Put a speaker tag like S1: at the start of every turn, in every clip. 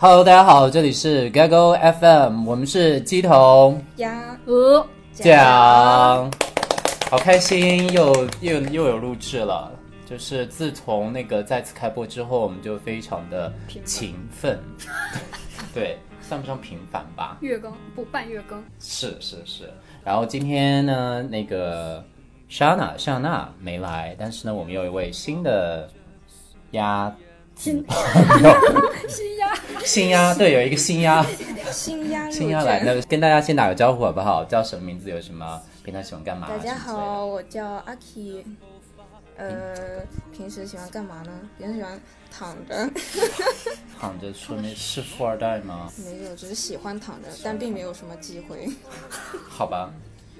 S1: Hello，大家好，这里是 Gaggle FM，我们是鸡同
S2: 呀，
S3: 五
S1: 讲，好开心，又又又有录制了。就是自从那个再次开播之后，我们就非常的
S2: 频繁
S1: 勤 奋，对，算不上频繁吧，
S3: 月更不半月更，
S1: 是是是。然后今天呢，那个莎娜莎娜没来，但是呢，我们有一位新的鸭
S3: 新新鸭
S1: 新鸭，对，有一个新鸭。
S2: 新鸭
S1: 新
S2: 入
S1: 要来
S2: 圈。
S1: 的，跟大家先打个招呼好不好？叫什么名字？有什么平常喜欢干嘛？
S2: 大家
S1: 什么之类的。
S2: 好，我叫阿 k 呃，平时喜欢干嘛呢？平时喜欢躺着，
S1: 躺着说明是富二代吗？
S2: 没有，只是喜欢躺着，但并没有什么机 会。
S1: 好吧，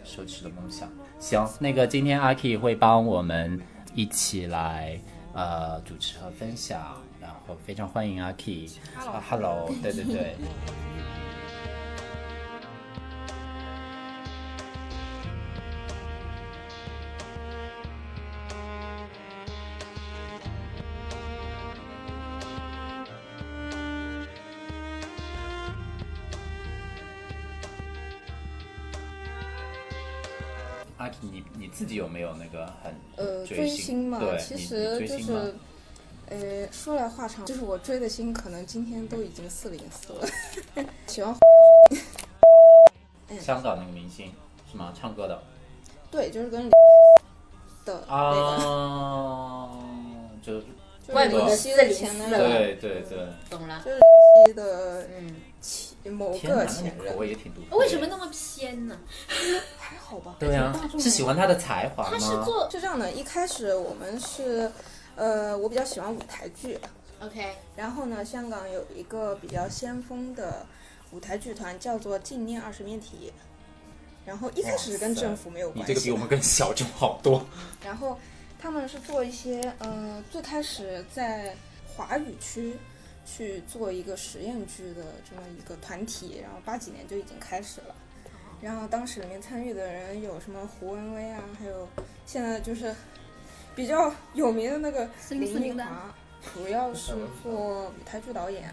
S1: 奢侈的梦想。行，那个今天阿 K 会帮我们一起来呃主持和分享，然后非常欢迎阿 K。
S3: Hello
S1: 啊，Hello，对对对。阿 K，你你自己有没有那个很
S2: 呃，
S1: 追
S2: 追
S1: 星
S2: 星嘛
S1: 对，
S2: 其
S1: 你
S2: 实
S1: 你
S2: 就
S1: 追星吗
S2: 是，呃，说来话长，就是我追的星可能今天都已经四零四了， 喜欢
S1: 香港那个明星是吗？唱歌的
S2: 对，就是跟的那个
S1: 啊，就是
S2: 就是
S4: 外国
S2: 的
S4: 西的零
S2: 前
S4: 四
S2: 男
S4: 了
S2: 友
S1: 对对对，
S4: 懂了。
S2: 就是西的
S4: 嗯，
S2: 前某
S1: 天哪，
S2: 个
S1: 那
S2: 前
S1: 你
S2: 任
S1: 口，味也挺独特的。
S4: 为什么那么偏呢？
S2: 还好吧？
S1: 对啊
S2: 大众，的
S1: 是喜欢他的才华吗？
S4: 他是做
S2: 是这样的，一开始我们是，呃，我比较喜欢舞台剧，
S4: OK，
S2: 然后呢，香港有一个比较先锋的舞台剧团叫做纪念二十面体，然后一开始是跟政府没有
S1: 你
S2: 关
S1: 这个比
S2: 系
S1: 我，们更小众好 多。
S2: 然后他们是做一些，呃，最开始在华语区。去做一个实验剧的这么一个团体，然后八几年就已经开始了。然后当时里面参与的人有什么胡文威啊，还有现在就是比较有名的那个
S3: 森林
S2: 林
S3: 四
S2: 奕
S3: 零的
S2: 华，主要是做舞台剧导演。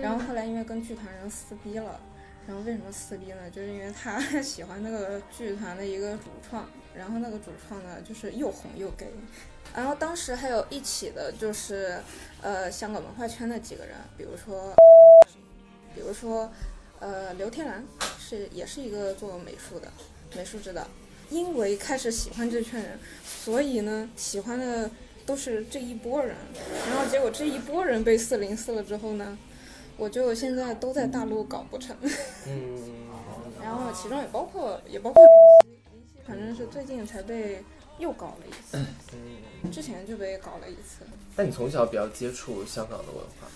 S2: 然后后来因为跟剧团人撕逼了，然后为什么撕逼呢？就是因为他喜欢那个剧团的一个主创，然后那个主创呢就是又红又 gay。然后当时还有一起的就是，呃，香港文化圈的几个人，比如说，比如说，呃，刘天然是也是一个做美术的美术指导，因为开始喜欢这圈人，所以呢，喜欢的都是这一波人，然后结果这一波人被四零四了之后呢，我就现在都在大陆搞不成，
S5: 嗯，
S2: 然后其中也包括也包括林夕，林夕反正是最近才被又搞了一次，之前就被搞了一次。
S5: 那你从小比较接触香港的文化，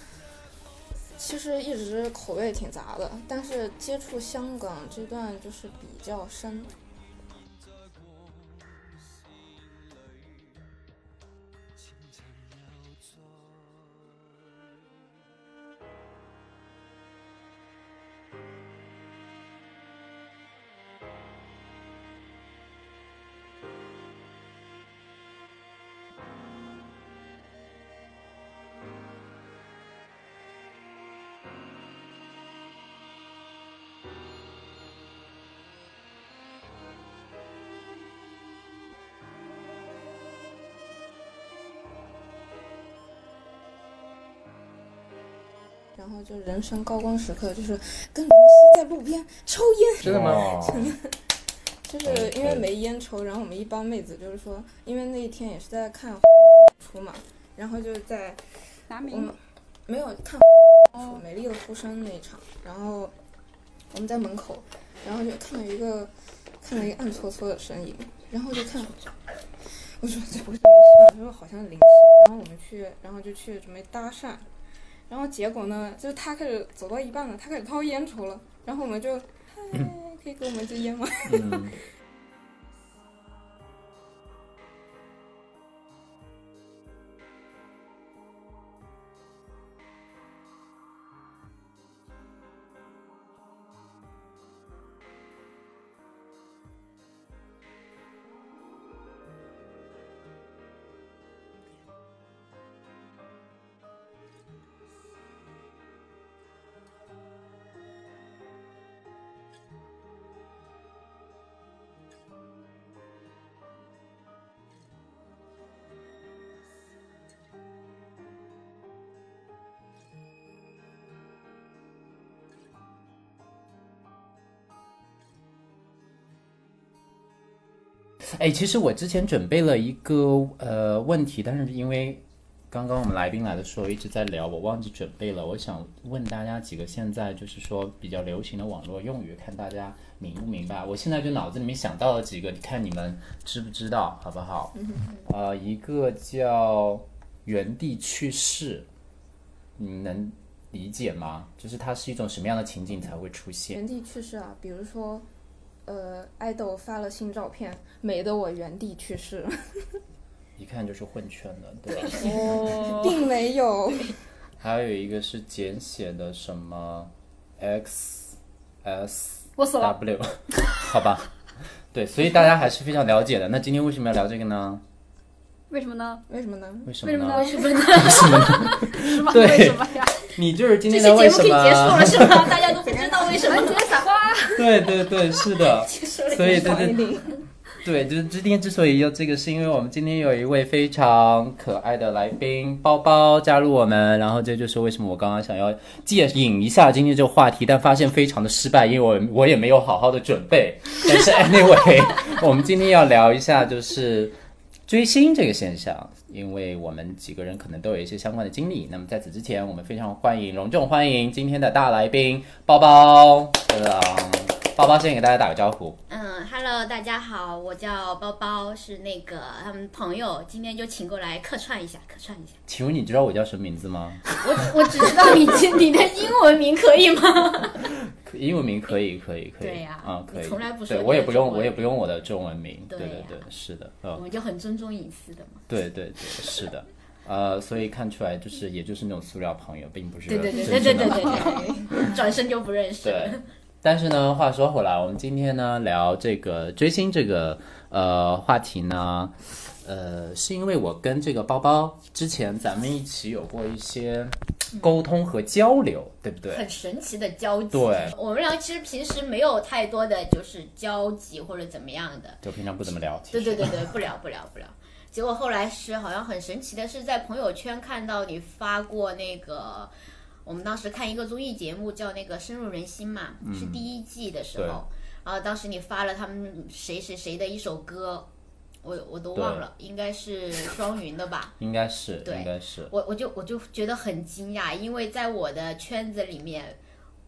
S2: 其实一直口味挺杂的，但是接触香港这段就是比较深。然后就人生高光时刻，就是跟林夕在路边抽烟，
S5: 真的吗？
S1: 哇？
S2: 就是因为没烟抽，然后我们一帮妹子就是说，因为那一天也是在看出嘛，然后就是在
S3: 拿
S2: 我
S1: 嗯
S2: 们
S3: 名
S2: 没有哦看《美丽的呼声》那一场，然后我们在门口，然后就看到一个看到一个暗搓搓的身影，然后就看，我说这不是林夕吧？他说好像是林夕，然后我们去，然后就去准备搭讪，然后结果呢，就是他开始走到一半了，他开始掏烟抽了，然后我们就，嗨，可以给我们一支烟吗？
S1: 嗯，哎，其实我之前准备了一个呃问题，但是因为刚刚我们来宾来的时候一直在聊，我忘记准备了。我想问大家几个现在就是说比较流行的网络用语，看大家明不明白。我现在就脑子里面想到了几个，你看你们知不知道，好不好？呃，一个叫原地去世，你能理解吗？就是它是一种什么样的情景才会出现？
S2: 原地去世啊，比如说，呃，爱豆发了新照片，美得我原地去世，
S1: 一看就是混圈的，对吧？哦
S2: 并没有。
S1: 还有一个是简写的什么 X S
S3: 我死了，
S1: W，好 吧，对，所以大家还是非常了解的。那今天为什么要聊这个呢？
S3: 为什么呢？
S2: 为什 么呢？
S1: 为什
S3: 为
S1: 么
S3: 什么呢？
S1: 呢？
S3: 为什么呢？为什么呢？
S1: 对
S3: 为什么呀？
S1: 你就是今
S3: 这期
S1: 天
S3: 节
S1: 的
S3: 目可
S1: 为
S3: 以
S1: 什
S3: 结束
S1: 么？
S3: 了是 吗？大家都不知道为什么完结撒花，
S1: 对对对，是的。所以对对
S2: 对，
S1: 对，就是今天之所以有这个，是因为我们今天有一位非常可爱的来宾包包加入我们，然后这就是为什么我刚刚想要借引一下今天这个话题，但发现非常的失败，因为我我也没有好好的准备。但是 anyway，我们今天要聊一下就是追星这个现象，因为我们几个人可能都有一些相关的经历。那么在此之前，我们非常欢迎隆重欢迎今天的大来宾包包，呃，包包先给大家打个招呼。
S4: 嗯，Hello，大家好，我叫包包，是那个他们朋友，今天就请过来客串一下，客串一下。
S1: 请问你知道我叫什么名字吗？
S4: 我我只知道你你的英文名可以 吗？
S1: 可英文名可以，可以，可以。
S4: 对呀
S1: 啊，可以。
S4: 你从来不说
S1: 对
S4: 你的
S1: 我也不用，
S4: 中文
S1: 我也不用我的中文名。对
S4: 对呀
S1: 对，是的，
S4: 我
S1: 哦，
S4: 们就很尊重隐私的嘛。
S1: 对对对，是的。 呃，所以看出来就是，也就是那种塑料朋友，并不是
S4: 对对对
S1: 真
S4: 对对
S1: 正
S4: 对
S1: 的朋友
S4: 对对， 转身就不认识了。
S1: 对，但是呢，话说回来，我们今天呢聊这个追星这个呃话题呢，呃，是因为我跟这个包包之前咱们一起有过一些沟通和交流，对不对？
S4: 很神奇的交集，
S1: 对
S4: 我们俩其实平时没有太多的就是交集或者怎么样的，
S1: 就平常不怎么聊。其
S4: 对
S1: 实
S4: 对对对，不聊不聊不聊。结果后来是好像很神奇的是，在朋友圈看到你发过那个，我们当时看一个综艺节目叫那个《深入人心》嘛，是第一季的
S1: 嗯
S4: 时
S1: 对
S4: 候，然后当时你发了他们谁谁谁的一首歌，我我都忘了，应该是双云的吧。
S1: 应该是，
S4: 对
S1: 应该是。
S4: 我我就我就觉得很惊讶，因为在我的圈子里面，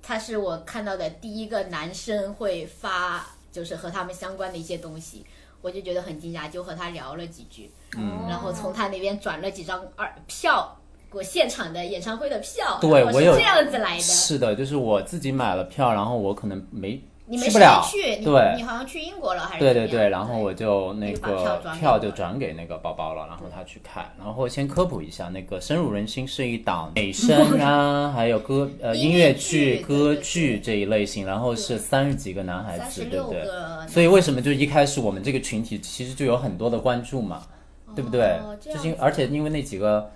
S4: 他是我看到的第一个男生会发，就是和他们相关的一些东西，我就觉得很惊讶，就和他聊了几句，
S1: 嗯
S4: 然后从他那边转了几张二票，我现场的演唱会的票，
S1: 对
S4: 我
S1: 我
S4: 是
S1: 有
S4: 这样子来的。
S1: 是的，就是我自己买了票，然后我可能没
S4: 你没
S1: 去
S4: 时
S1: 不
S4: 间
S1: 了，
S4: 去，你
S1: 对
S4: 你好像去英国了还是
S1: 对
S4: 怎么
S1: 对
S4: 样？
S1: 对，然后我就那
S4: 就把票
S1: 个
S4: 转给
S1: 票
S4: 我
S1: 就
S4: 了
S1: 转给那个包包了，然后他去看。然后先科普一下，那个《深入人心》是一档美声 啊，还有歌呃音
S4: 音
S1: 乐
S4: 乐
S1: 剧、
S4: 剧
S1: 歌
S4: 对对
S1: 剧这一类型，然后是三十几个男孩
S4: 三
S1: 子
S4: 十，
S1: 对
S4: 六
S1: 不对？
S4: 个，
S1: 所以为什么就一开始我们这个群体其实就有很多的关注嘛，对不对
S4: 哦？
S1: 就
S4: 这样
S1: 是因
S4: 子
S1: 而且因为那几个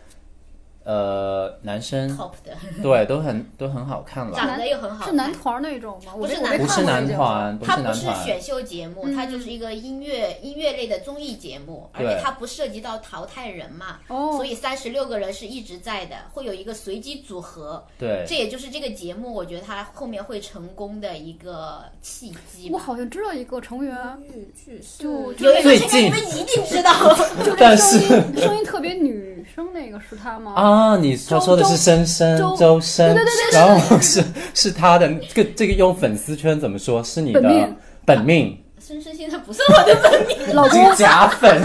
S1: 呃男生
S4: top 的，
S1: 对都很都很好看了。
S4: 长得又很好看，
S3: 是男团那种吗？我没
S4: 不是
S3: 我没
S4: 男
S1: 不
S3: 看
S1: 是
S3: 过
S1: 男
S3: 这节目
S1: 团，不
S4: 它
S1: 男
S4: 不是
S1: 团，
S4: 选秀节目，
S3: 嗯
S4: 它就是一个音乐音乐类的综艺节目，而
S1: 对
S4: 且它不涉及到淘汰人嘛，
S3: 哦，
S4: 所以三十六个人是一直在的，会有一个随机组合，
S1: 对
S4: 这也就是这个节目，我觉得它后面会成功的一个契机
S3: 我
S4: 吧。
S3: 好像知道一个成员，
S2: 日剧是
S3: 啊 就
S4: 有一个
S1: 最
S4: 成员
S1: 近
S4: 你们一定知道，
S3: 就
S1: 但
S3: 那声音声音特别女生那个是她吗？
S1: 啊，你他
S3: 周
S1: 说的是
S3: 周
S1: 深深
S3: 周
S1: 周深，
S3: 对对对
S1: 然后是是他的这个这个用粉丝圈怎么说是你
S3: 本
S1: 的
S3: 命
S1: 本命，
S4: 深深现在 不是我的本命，
S3: 老
S1: 这
S3: 公
S1: 个假粉，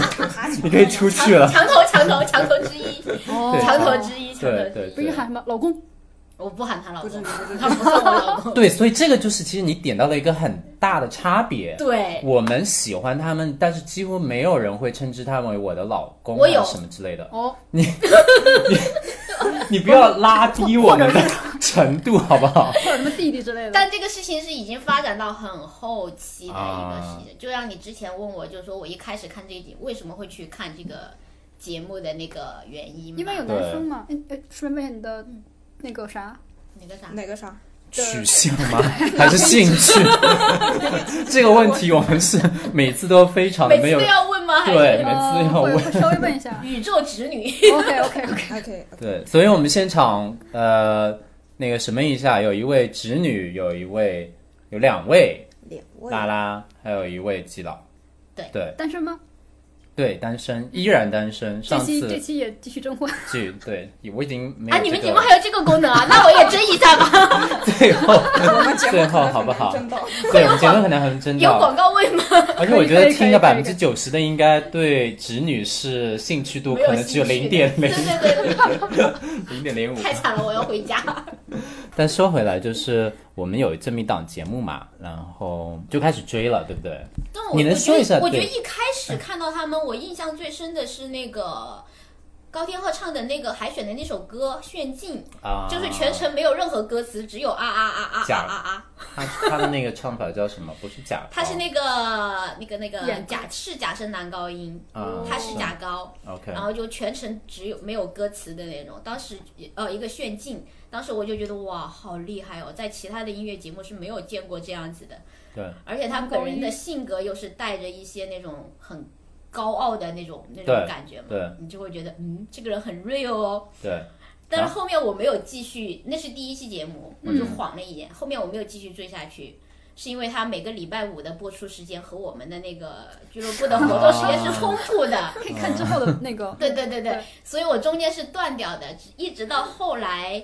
S1: 你可以出去 了。
S4: 墙头墙头墙头之一，
S1: 啊对
S4: 墙头之一，墙头
S1: 对对
S4: 之一，
S3: 哦不是
S1: 对
S3: 喊什么老公，
S4: 我不喊他老
S2: 不知
S4: 公
S2: 不，知
S4: 他不算我老 公，
S1: 对，所以这个就是其实你点到了一个很大的差别。
S4: 对。
S1: 我们喜欢他们，但是几乎没有人会称之他为我的老公
S4: 我
S1: 啊
S4: 有
S1: 什么之类的。
S3: 哦，
S1: 你不要拉低我
S3: 或
S1: 们
S3: 者
S1: 的程度，好不好？
S3: 或者什么弟弟之类的。
S4: 但这个事情是已经发展到很后期的一个事情，就像你之前问我，就是说我一开始看这一集为什么会去看这个节目的那个原因嘛，
S3: 因为有男生嘛，
S4: 嗯
S3: 哎哎，顺便问你的那个啥，
S4: 那个啥，
S1: 啊
S2: 哪个啥？
S1: 取向吗？还是兴趣？ 这个问题我们是每次都非常的
S4: 每
S1: 没
S4: 次
S1: 有
S4: 都要问吗？还
S1: 对，
S4: 是。
S1: 每次
S3: 呃，
S1: 要
S3: 会
S1: 问。
S3: 会稍微问一 下
S4: 宇宙直女
S3: OK OK OK，
S2: 还可以，
S1: 对，所以我们现场呃，那个什么一下，有一位侄女，有一位，有两位
S2: 脸
S1: 拉
S2: 位
S1: 拉，还有一位基佬。
S4: 对
S1: 对
S3: 单身吗？
S1: 对，单身依然单身。
S3: 这
S1: 上
S3: 期这
S1: 次
S3: 期也继续征 婚，
S1: 剧对，我已经没有、
S4: 啊，
S1: 这个。
S4: 你们节目还有这个功 能啊？那我也争一下吧，
S1: 最后
S2: 我们节目
S1: 最
S2: 可
S1: 后
S2: 能
S1: 好
S2: 很
S1: 不
S2: 难
S1: 好？
S2: 争到，
S1: 对，我们节目可能很 真
S4: 有
S1: 的，啊
S4: 广告位吗？
S1: 而且我觉得
S3: 可以可以
S1: 听了百
S3: 可
S1: 分
S3: 以
S1: 之九十的应该对直女是兴趣度
S4: 没有
S1: 可能只有
S4: 兴
S1: 零
S4: 趣
S1: 点零
S4: 对对对对，
S1: 零点零五。
S4: 太惨了，我要回家。
S1: 但说回来，就是我们有这么一档节目嘛，然后就开始追了，对不对？
S4: 但我
S1: 你能
S4: 我觉得
S1: 说一下
S4: 我觉
S1: 对
S4: 得一开始看到他们，我印象最深的是那个高天鹤唱的那个海选的那首歌《炫进
S1: 啊》，，
S4: 就是全程没有任何歌词，只有啊啊啊啊啊
S1: 假
S4: 啊啊！
S1: 他他的那个唱法叫什么？不是假高，
S4: 他是那个那个那个
S3: 眼高
S4: 假是假声男高音，
S1: 啊，
S4: 他是假嗯高，
S1: 嗯 OK
S4: 然后就全程只有没有歌词的那种。当时呃一个炫进，当时我就觉得哇好厉害哦，在其他的音乐节目是没有见过这样子的。
S1: 对，
S4: 而且他本人的性格又是带着一些那种很高傲的那种那
S1: 对
S4: 种感觉嘛，
S1: 对
S4: 你就会觉得嗯这个人很 real 哦。
S1: 对
S4: 但是后面我没有继续，那是第一期节目，我就晃了一眼。后面我没有继续追下去，是因为他每个礼拜五的播出时间和我们的那个俱乐部的活动时间是冲突的。
S3: 可以看之后的那个。
S4: 啊对对对对
S3: 对，
S4: 所以我中间是断掉的，只一直到后来，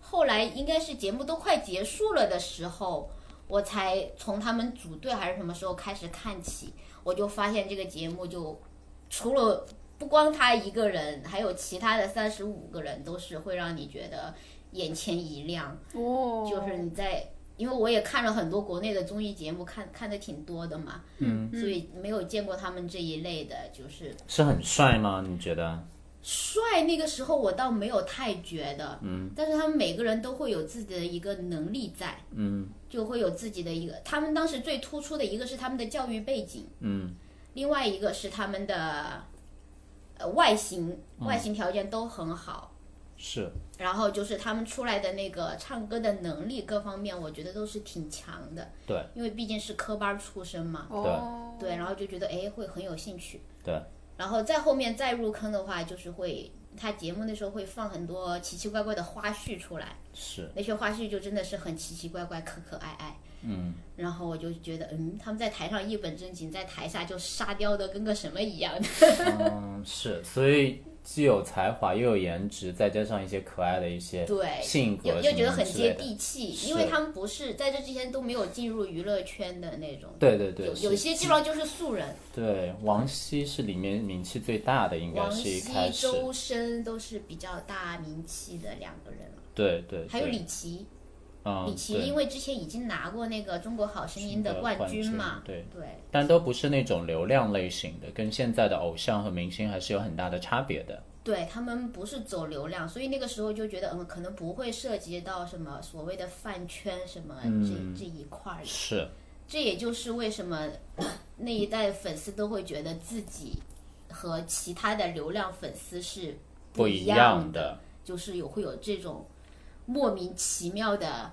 S4: 后来应该是节目都快结束了的时候，我才从他们组队还是什么时候开始看起，我就发现这个节目就除了不光他一个人，还有其他的三十五个人都是会让你觉得眼前一亮，
S3: 哦，
S4: 就是你在。因为我也看了很多国内的综艺节目，看看的挺多的嘛，嗯，所以没有见过他们这一类的，就是
S1: 是很帅吗？你觉得？
S4: 帅那个时候我倒没有太觉得，嗯，但是他们每个人都会有自己的一个能力在，嗯，就会有自己的一个，他们当时最突出的一个是他们的教育背景，
S1: 嗯，
S4: 另外一个是他们的呃外形，外形条件都很好，
S1: 是
S4: 然后就是他们出来的那个唱歌的能力各方面，我觉得都是挺强的，
S1: 对，
S4: 因为毕竟是科班出身嘛，
S3: 哦，
S4: 对，然后就觉得哎会很有兴趣。
S1: 对，
S4: 然后再后面再入坑的话，就是会他节目那时候会放很多奇奇怪怪的花絮出来，
S1: 是，
S4: 那些花絮就真的是很奇奇怪怪、可可爱爱。
S1: 嗯，
S4: 然后我就觉得，嗯，他们在台上一本正经，在台下就沙雕的跟个什么一样。
S1: 嗯是，所以既有才华又有颜值，再加上一些可爱的一些
S4: 对，
S1: 性格什
S4: 又又
S1: 么
S4: 觉得很
S1: 之
S4: 接
S1: 类的
S4: 地气，
S1: 是
S4: 因为他们不是在这之前都没有进入娱乐圈的那种。
S1: 对对对，
S4: 有
S1: 是
S4: 有些基本上就是素人，
S1: 对，王希是里面名气最大的，应该
S4: 王
S1: 是一
S4: 希
S1: 开、始，
S4: 周深都是比较大名气的两个人了，
S1: 对对，
S4: 还有
S1: 对
S4: 李琦，
S1: 嗯，
S4: 李琦
S1: 对
S4: 因为之前已经拿过那个《中国好声音》的
S1: 冠
S4: 军嘛，
S1: 对，
S4: 对
S1: 但都不是那种流量类型的，跟现在的偶像和明星还是有很大的差别的。
S4: 对，他们不是走流量，所以那个时候就觉得，嗯，可能不会涉及到什么所谓的饭圈什么这、
S1: 嗯
S4: 这一块儿。
S1: 是，
S4: 这也就是为什么那一代粉丝都会觉得自己和其他的流量粉丝是
S1: 不一
S4: 一
S1: 样
S4: 的，
S1: 的
S4: 就是有会有这种莫名其妙的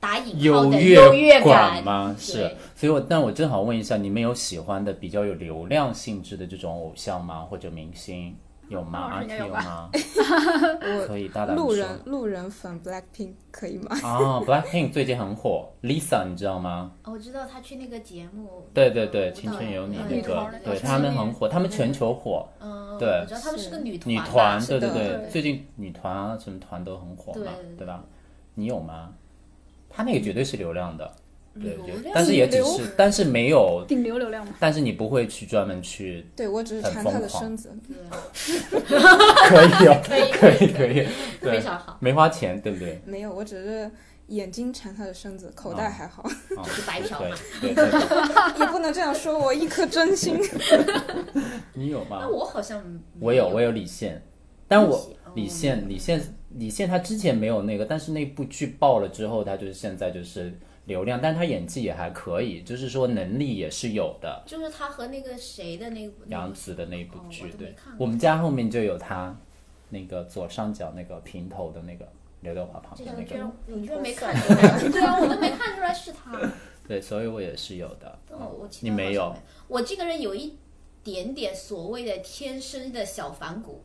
S4: 打引号
S1: 优
S4: 的优越
S1: 感
S4: 感
S1: 吗？
S4: 对
S1: 是，所以我那我正好问一下，你们有喜欢的比较有流量性质的这种偶像吗？或者明星有吗？
S3: 王老
S1: 阿
S3: 师
S1: K
S3: 应该有吧
S1: 吗？
S2: 我
S1: 可以 大胆
S2: 路
S1: 说
S2: 人路人粉 Blackpink 可以吗？
S1: 啊，Blackpink 最近很火，Lisa 你知道吗？
S4: 哦我知道他去那个节目，
S1: 对对对，
S4: 舞
S1: 《
S4: 蹈
S1: 青春有你》
S4: 嗯
S1: 那
S3: 女团
S1: 个
S3: 儿那，个
S1: 对
S3: 是
S1: 他们很火，他们全球火，
S4: 嗯，
S1: 对
S4: 我知道他们是个女团
S1: 女
S4: 吧，
S1: 团，
S4: 是
S1: 对对
S2: 的
S1: 对，
S3: 对
S1: 最近女团啊什么团都很火嘛，
S4: 对
S1: 对吧？你有吗？他那个绝对是流量的，对，
S4: 流
S1: 绝
S4: 量
S1: 但是也只
S2: 流
S1: 是，但是没有，
S3: 顶流流量嘛，
S1: 但是你不会去专门去，
S2: 对我只是
S1: 很
S2: 馋
S1: 疯
S2: 他的
S1: 狂
S2: 身子，
S1: 可以哦，
S4: 可以
S1: 可以可以，
S4: 非
S1: 对，
S4: 常好，
S1: 没花钱，对不对？
S2: 没有，我只是眼睛馋他的身子，口袋还好，
S1: 啊，
S4: 就是白嫖嘛。
S1: 对对对对，
S2: 也不能这样说我，一颗真心。
S1: 你有吗
S4: 那？我好像没
S1: 我有，我有李现，但
S4: 嗯李
S1: 我
S4: 现哦
S1: 李现，李现，李现，他之前没有那个，但是那部剧爆了之后，他就是现在就是流量，但他演技也还可以，就是说能力也是有的。
S4: 就是他和那个谁的那部
S1: 杨紫的那部剧，
S4: 哦我都没
S1: 对
S4: 看，过
S1: 我们家后面就有她，那个左上角那个平头的那个刘德华旁
S4: 这
S1: 边
S4: 个
S1: 那
S4: 居
S1: 个，
S4: 然你居然没看出来，对啊，我都没看出来是他。
S1: 对，所以我也是有的。
S4: 但我我其他
S1: 你没
S4: 好
S1: 有
S4: 像，我这个人有一点点所谓的天生的小反骨。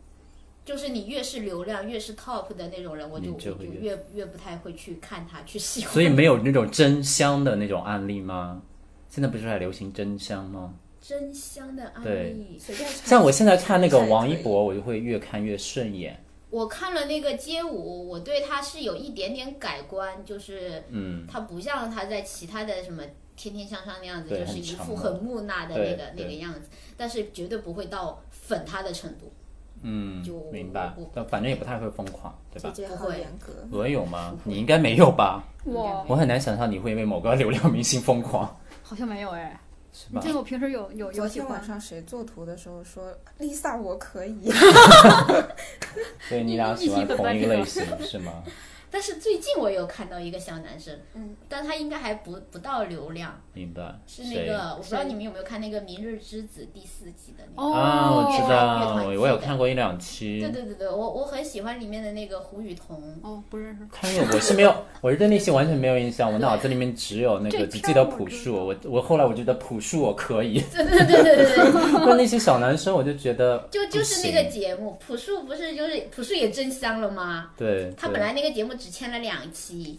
S4: 就是你越是流量越是 top 的那种人，我就
S1: 你就
S4: 我
S1: 会
S4: 就
S1: 越
S4: 越越不太会去看他去喜欢。
S1: 所以没有那种真香的那种案例吗？现在不是还流行真香吗？
S4: 真香的安
S1: 对
S4: 利。
S2: 随便查。
S1: 像我现在看那个
S2: 查也
S1: 王一
S2: 可以，
S1: 博，我就会越看越顺眼。
S4: 我看了那个街舞，我对他是有一点点改观，就是
S1: 嗯，
S4: 他不像他在其他的什么《天天向上》那样子，
S1: 对
S4: 就是
S1: 很
S4: 一
S1: 长
S4: 副
S1: 嘛
S4: 很木讷的
S1: 对
S4: 那个那
S1: 对
S4: 个样子，但是绝对不会到粉他的程度。
S1: 嗯
S4: 就，
S1: 明白
S4: 我。
S1: 但反正也不太会疯狂，对
S2: 姐
S1: 吧？
S2: 姐
S4: 不
S2: 好
S4: 会
S2: 严格。
S1: 我有吗？你应该没有吧？
S3: 我
S1: 我很难想象你会因为某个流量明星疯 狂，
S3: 好像没有哎，
S1: 是
S3: 你
S1: 吧
S3: 这？个我平时有有有
S2: 昨
S3: 喜
S2: 天晚
S3: 欢，
S2: 上谁做图的时候说 Lisa 我 可以，
S1: 所以你俩喜欢同一个类型是 吗？
S4: 但是最近我有看到一个小男生，
S2: 嗯，
S4: 但他应该还不不到流量，
S1: 明白。
S4: 是那
S1: 谁
S4: 个我不知道
S3: 谁
S4: 你们有没有看那个《明日之子》第四集的那个。
S3: 哦
S1: 啊，我知
S4: 乐
S1: 道，
S4: 团
S1: 我
S4: 系
S1: 我有
S4: 的
S1: 看过一两期。
S4: 对对对对，我我很喜欢里面的那个胡雨桐，
S3: 哦，不 认识。
S1: 看见我是没有，我是对那些完全没有印象，我脑子里面只有那
S3: 这
S1: 个
S3: 片
S1: 只记得
S3: 儿我
S1: 朴
S3: 知
S1: 树，
S3: 道
S1: 我我后来我觉得朴树我可 以，
S4: 对对对对对对，
S1: 但那些小男生我就觉得
S4: 就
S1: 不
S4: 就是那个
S1: 行
S4: 节目，朴树不是就是朴树也真香了吗？
S1: 对，
S4: 他
S1: 对
S4: 本来那个节目只签了两期，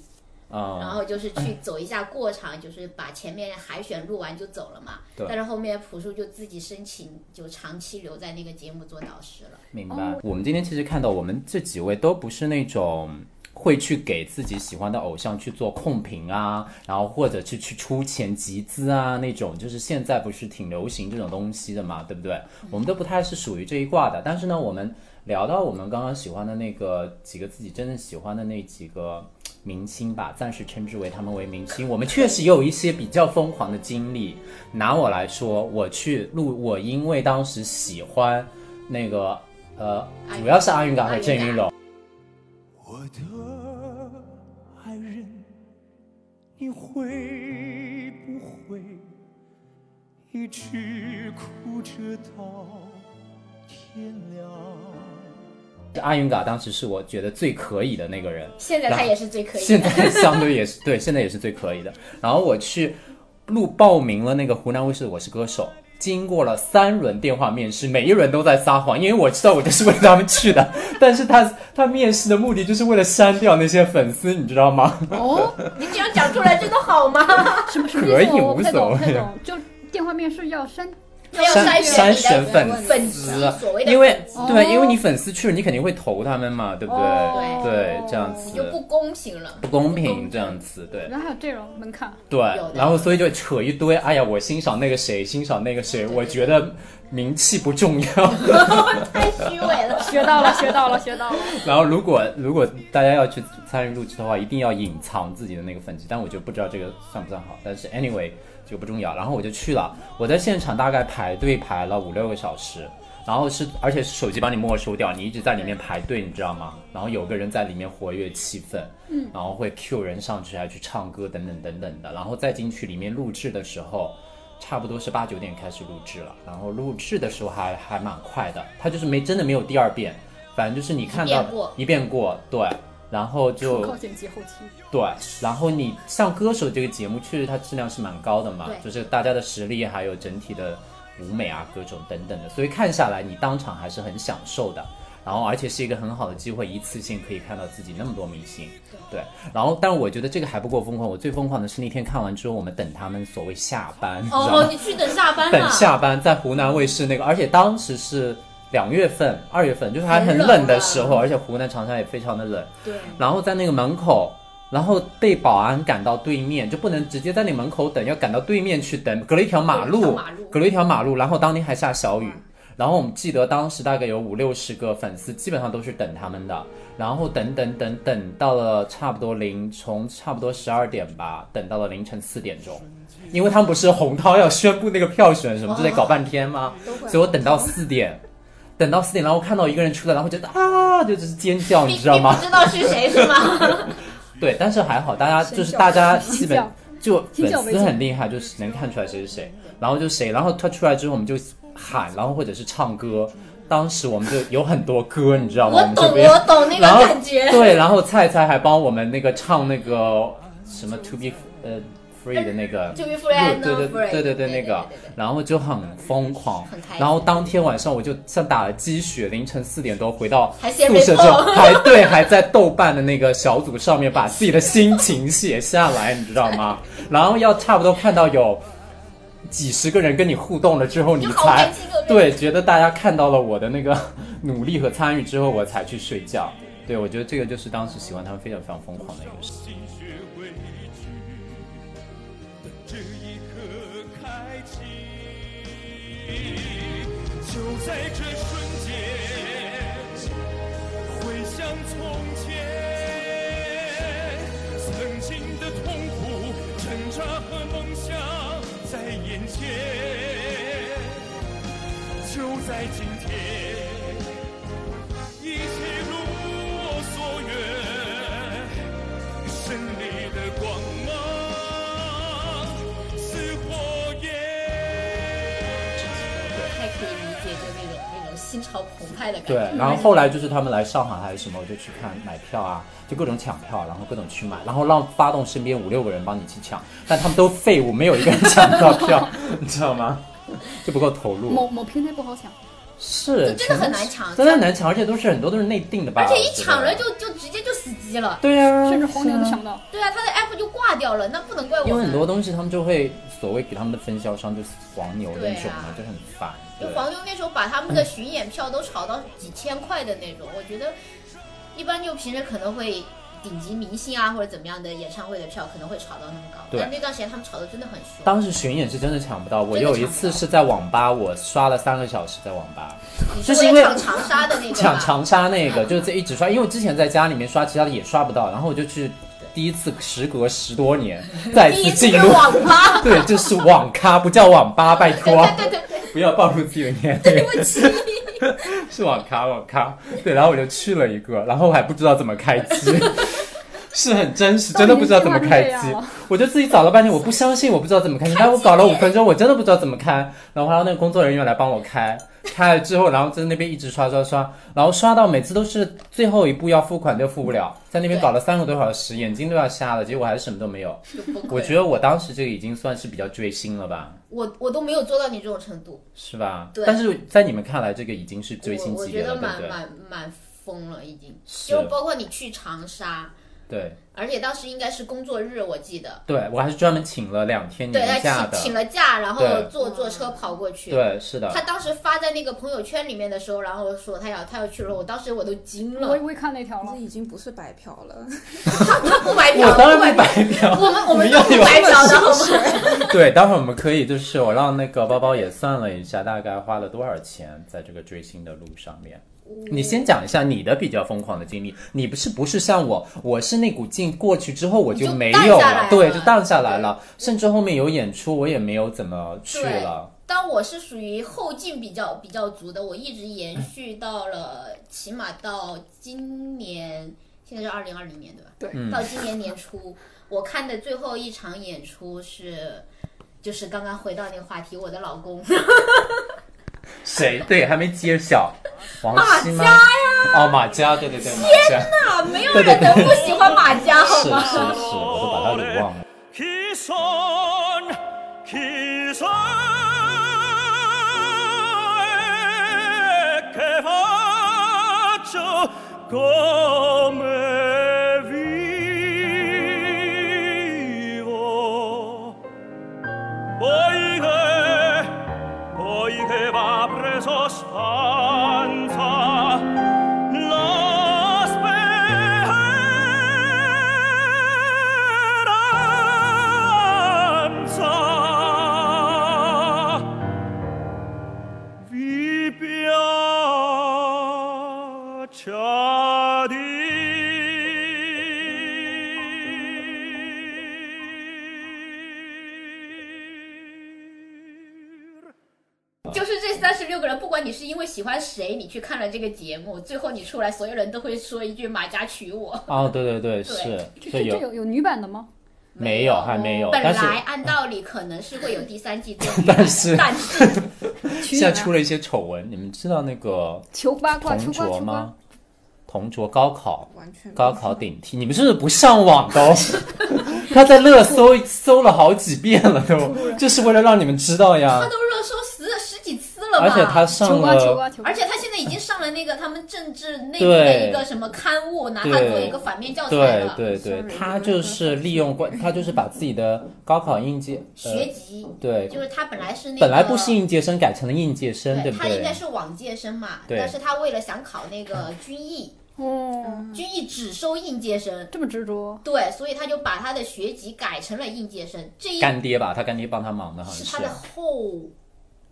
S4: 然
S1: 啊
S4: 后就是去走一下过场，就是把前面海选录完就走了嘛。
S1: 对
S4: 但是后面朴树就自己申请，就长期留在那个节目做导师了。
S1: 明白。我们今天其实看到我们这几位都不是那种。会去给自己喜欢的偶像去做控评啊，然后或者去去出钱集资啊，那种就是现在不是挺流行这种东西的嘛，对不对？我们都不太是属于这一挂的。但是呢，我们聊到我们刚刚喜欢的那个几个自己真正喜欢的那几个明星吧，暂时称之为他们为明星。我们确实也有一些比较疯狂的经历。拿我来说，我去录，我因为当时喜欢那个呃，
S4: 阿云
S1: 主要是阿云嘎
S4: 阿
S1: 和
S4: 云
S1: 郑
S4: 嘎
S1: 云龙。
S6: 我的爱人，你会不会一直哭着到天亮？
S1: 阿云嘎当时是我觉得最可以的那个人，
S4: 现在他也是最可 以
S1: 现
S4: 的，
S1: 在相对也是对，现在也是最可以的。然后我去录报名了那个湖南卫视的《我是歌手》，经过了三轮电话面试，每一轮都在撒谎，因为我知道我就是为了他们去的，但是他他面试的目的就是为了删掉那些粉丝，你知道吗？
S3: 哦，
S4: 你这样讲出来真的好吗？
S3: 什么什么
S1: 可
S3: 意
S1: 以
S3: 思？我
S1: 无
S3: 不太懂，
S1: 所
S3: 不太
S1: 谓
S3: 懂。就电话面试要删，
S4: 没有
S1: 删
S4: 选
S1: 删
S4: 你
S1: 选
S4: 的
S1: 粉
S4: 粉
S1: 丝
S4: 丝，所谓的
S1: 因为
S4: 粉丝
S1: 对，
S3: 哦
S1: 因为你粉丝去了，你肯定会投他们嘛，对不对？
S3: 哦
S1: 对，这样
S4: 你就
S1: 子
S4: 不公平了。
S1: 不公平，这样子对。
S3: 然后还有这种门槛。
S1: 对
S4: 有的，
S1: 然后所以就扯一堆，哎呀，我欣赏那个谁，欣赏那个谁，我觉得名气不重 要。
S4: 太虚伪了。
S3: 学到了，学到了，学到了。
S1: 然后如果如果大家要去参与录制的话，一定要隐藏自己的那个粉丝，但我就不知道这个算不算好。但是 anyway 就不重要。然后我就去了，我在现场大概排队排了五六个小时，然后是而且是手机帮你没收掉，你一直在里面排队，你知道吗？然后有个人在里面活跃气氛，嗯，然后会 Q 人上去，还去唱歌等等等等的。然后再进去里面录制的时候。差不多是八九点开始录制了，然后录制的时候还还蛮快的，他就是没真的没有第二遍，反正就是你看到
S4: 一遍过
S1: 一遍过，对，然后就
S3: 靠剪辑后期。
S1: 对，然后你像歌手这个节目，确实它质量是蛮高的嘛，
S4: 对
S1: 就是大家的实力还有整体的舞美啊各种等等的，所以看下来你当场还是很享受的。然后，而且是一个很好的机会，一次性可以看到自己那么多明星，对。然后，但我觉得这个还不够疯狂，我最疯狂的是那天看完之后，我们等他们所谓下班，你知道吗
S4: 哦，？你去等下班
S1: 等
S4: 了。
S1: 下班在湖南卫视那个，而且当时是两月份、二月份，就是还很冷的时候，而且湖南长沙也非常的冷。
S4: 啊对，
S1: 然后在那个门口，然后被保安赶到对面，就不能直接在那门口等，要赶到对面去等，隔了一条马
S4: 隔了
S1: 路
S4: 一条马路，
S1: 隔了一条马路，然后当天还下小雨。然后我们记得当时大概有五六十个粉丝，基本上都是等他们的。然后等等等等到了差不多凌，从差不多十二点吧，等到了凌晨四点钟，因为他们不是洪涛要宣布那个票选什么之类，搞半天吗？
S2: 都会
S1: 所以我等到四点，等到四点，然后看到一个人出来，然后觉得啊，就就是尖叫，你知道吗？
S4: 你不知道是谁 是吗？
S1: 对，但是还好，大家就是
S2: 神
S1: 大家
S3: 神
S1: 基本
S3: 教
S1: 就粉
S3: 神教
S1: 丝
S3: 为
S1: 很厉害，就是能看出来谁是谁，然后就谁，然后他出来之后我们就喊，然后或者是唱歌，当时我们就有很多歌，你知道吗？
S4: 我
S1: 们这
S4: 懂，
S1: 边
S4: 我懂那个
S1: 然后
S4: 感觉。
S1: 对，然后菜菜还帮我们那个唱那个什么 To Be 呃 Free 的那个
S4: To be free and
S1: 对
S4: not
S1: 对
S4: free
S1: 对对
S4: 对
S1: 那个
S4: 对对对，
S1: 然后就很疯狂
S4: 很开，心
S1: 然后当天晚上我就像打了鸡血，凌晨四点多回到
S4: 还写
S1: 宿舍之后，
S4: report
S1: 还对还在豆瓣的那个小组上面把自己的心情写下来，你知道吗？然后要差不多看到有。几十个人跟你互动了之后，你
S4: 就好
S1: 才
S4: 没几个人。
S1: 对，觉得大家看到了我的那个努力和参与之后，我才去睡觉。对，我觉得这个就是当时喜欢他们非常非常疯狂的一个事。
S6: 心学会去等这一刻开启。就在这瞬间，回想从前，曾经的痛苦、挣扎和梦想在眼前。就在今天，一切如我所愿。胜利的光芒似火焰。
S4: 太可以理解，就那种那种心潮澎湃的感
S1: 对
S4: 觉。，
S1: 然后后来就是他们来上海还是什么，我就去看买票啊，就各种抢票，然后各种去买，然后让发动身边五六个人帮你去抢，但他们都废物，没有一个人抢到票， 你知道吗？就不够投入。
S3: 某某平台不好抢，
S1: 是，
S4: 就真的很难抢
S1: 真的很难抢，而且都是很多都啊是内定的吧？
S4: 而且
S1: 我
S4: 一
S1: 觉得
S4: 抢了就就直接就死机了。
S1: 对呀、
S3: 甚至黄牛
S1: 是
S3: 都
S1: 啊
S3: 抢不到。
S4: 对啊，他的 app 就挂掉了，那不能怪我们。
S1: 因为很多东西他们就会所谓给他们的分销商就是黄牛那种嘛，就
S4: 对啊
S1: 很烦。
S4: 就
S1: 对，
S4: 黄牛那时候把他们的巡演票都炒到几千块的那种，我觉得一般就平时可能会顶级明星啊或者怎么样的演唱会的票可能会炒到那么高，
S1: 对
S4: 但那段时间他们炒的真的很凶。
S1: 当时巡演是真的抢不到，我
S4: 真的
S1: 有一
S4: 抢不
S1: 次
S4: 到
S1: 是在网吧，我刷了三个小时在网吧
S4: 你
S1: 这
S4: 说
S1: 是因为
S4: 抢长沙的那个
S1: 抢
S4: 吧
S1: 长沙那个，就是一直刷，因为我之前在家里面刷其他的也刷不到，然后我就去第一次时隔十多年再
S4: 第一
S1: 次
S4: 次
S1: 进
S4: 的
S1: 入，
S4: 网吧，
S1: 对，这是网咖不叫网吧，拜
S4: 对
S1: 托。
S4: 对对对对，
S1: 不要暴露自己的年龄。对不起，是网咖网咖。对，然后我就去了一个，然后我还不知道怎么开机，是很真实，真的不知道怎么开
S3: 到底是
S1: 机
S3: 这样。
S1: 我就自己找了半天，我不相信我不知道怎么开机，但我搞了五分钟，我真的不知道怎么开。然后还让那个工作人员来帮我开。开了之后，然后在那边一直刷刷刷，然后刷到每次都是最后一步要付款都付不了，在那边
S4: 对
S1: 搞了三个多小时，眼睛都要瞎了，结果还是什么都没 有。
S4: 就崩溃了
S1: 我觉得我当时这个已经算是比较追星了吧。
S4: 我我都没有做到你这种程度，
S1: 是吧？
S4: 对
S1: 但是在你们看来，这个已经是追星
S4: 我我
S1: 级
S4: 觉
S1: 别了，
S4: 得
S1: 对
S4: 蛮
S1: 不对？
S4: 蛮蛮疯了已经，
S1: 是
S4: 就，包括你去长沙，
S1: 对
S4: 而且当时应该是工作日，我记得。
S1: 对，我还是专门嗯请了两天
S4: 对，
S1: 年假
S4: 他
S1: 的
S4: 请，请了假，然后
S1: 对
S4: 坐坐车跑过去。
S1: 对，是的
S4: 他，当时发在那个朋友圈里面的时候，然后说他要他要去了，我当时我都惊
S1: 啊
S3: 我
S4: 了，
S3: 我也看那条
S2: 这
S3: 了，
S2: 已经不是白嫖了，
S4: 他 他不买票，
S1: 我当然
S4: 不
S1: 不白嫖。
S4: 我们我
S1: 们
S4: 们
S1: 要
S4: 都
S1: 有
S4: 不买票的好吗？
S1: 对，待会儿我们可以就是我让那个包包也算了一下，大概花了多少钱在这个追星的路上面。
S4: 嗯
S1: 你先讲一下你的比较疯狂的经历，你不是不是像我，我是那股劲过去之后我
S4: 你就
S1: 没
S4: 淡
S1: 有
S4: 下来了
S1: 对，就淡下来了，甚至后面有演出我也没有怎么去
S4: 对
S1: 了。
S4: 但我是属于后劲比较比较足的，我一直延
S1: 嗯
S4: 续到了起码到今年，现在是二零二零年对吧？
S3: 对
S1: 嗯
S4: 到今年年初，我看的最后一场演出是，就是刚刚回到那个话题，我的老公。
S1: 谁？对，还没揭晓。王希吗？
S4: 马佳
S1: 哦，马佳，对对对，马佳，
S4: 啊，没有人能不喜欢马甲， 好
S1: 是
S4: 吗？
S1: 是是，我都把他给忘了。
S6: Kiss on, kiss on, che faccio come vivo. Poi che, poi che va preso stanza, la speranza vi piaccia dir.
S4: 就是这三十六个人，不管你是因为喜欢谁，你去看了这个节目，最后你出来，所有人都会说一句“马甲娶我
S1: 哦，对对对，是，
S3: 这
S1: 对
S3: 这这
S1: 有
S3: 有有女版的吗？
S1: 没有还没”。有，
S4: 哦本
S1: 但是
S4: 来按道理可能是会有第三季、第四季
S1: 但是
S4: 但是
S1: 现在出了一些丑闻，你们知道那个
S3: 啊求八卦，
S1: 同
S3: 求八
S1: 卓
S3: 卦，求八
S1: 吗？同卓高考。
S2: 完全
S1: 高考顶替，你们是不是不上网都？ 他在热搜搜了好几遍了都，就是为了让你们知道
S4: 他
S1: 呀。
S4: 都热搜十十几次了吧？
S1: 啊而且他上
S3: 求八求
S1: 了，
S3: 八求八，
S4: 而且他现在已经上了那个他们政治内部的
S1: 对
S4: 一个什么刊物，拿它
S1: 对
S4: 做一个反面教材
S1: 对
S4: 了。
S1: 对对，他就是利用关，他就是把自己的高考应届，呃，
S4: 学籍
S1: 对，
S4: 就是他本来是那个
S1: 本来不是应届生，改成了应届生，
S4: 对
S1: 不
S4: 他应
S1: 对
S4: 该？是往届生嘛，
S1: 对
S4: 但是他为了想考那个军艺，
S3: 哦，
S4: 军艺只收应届生，
S3: 这么执着，
S4: 对，所以他就把他的学籍改成了应届生，这一
S1: 干爹吧，他干爹帮他忙的，好
S4: 是
S1: 像
S4: 他的后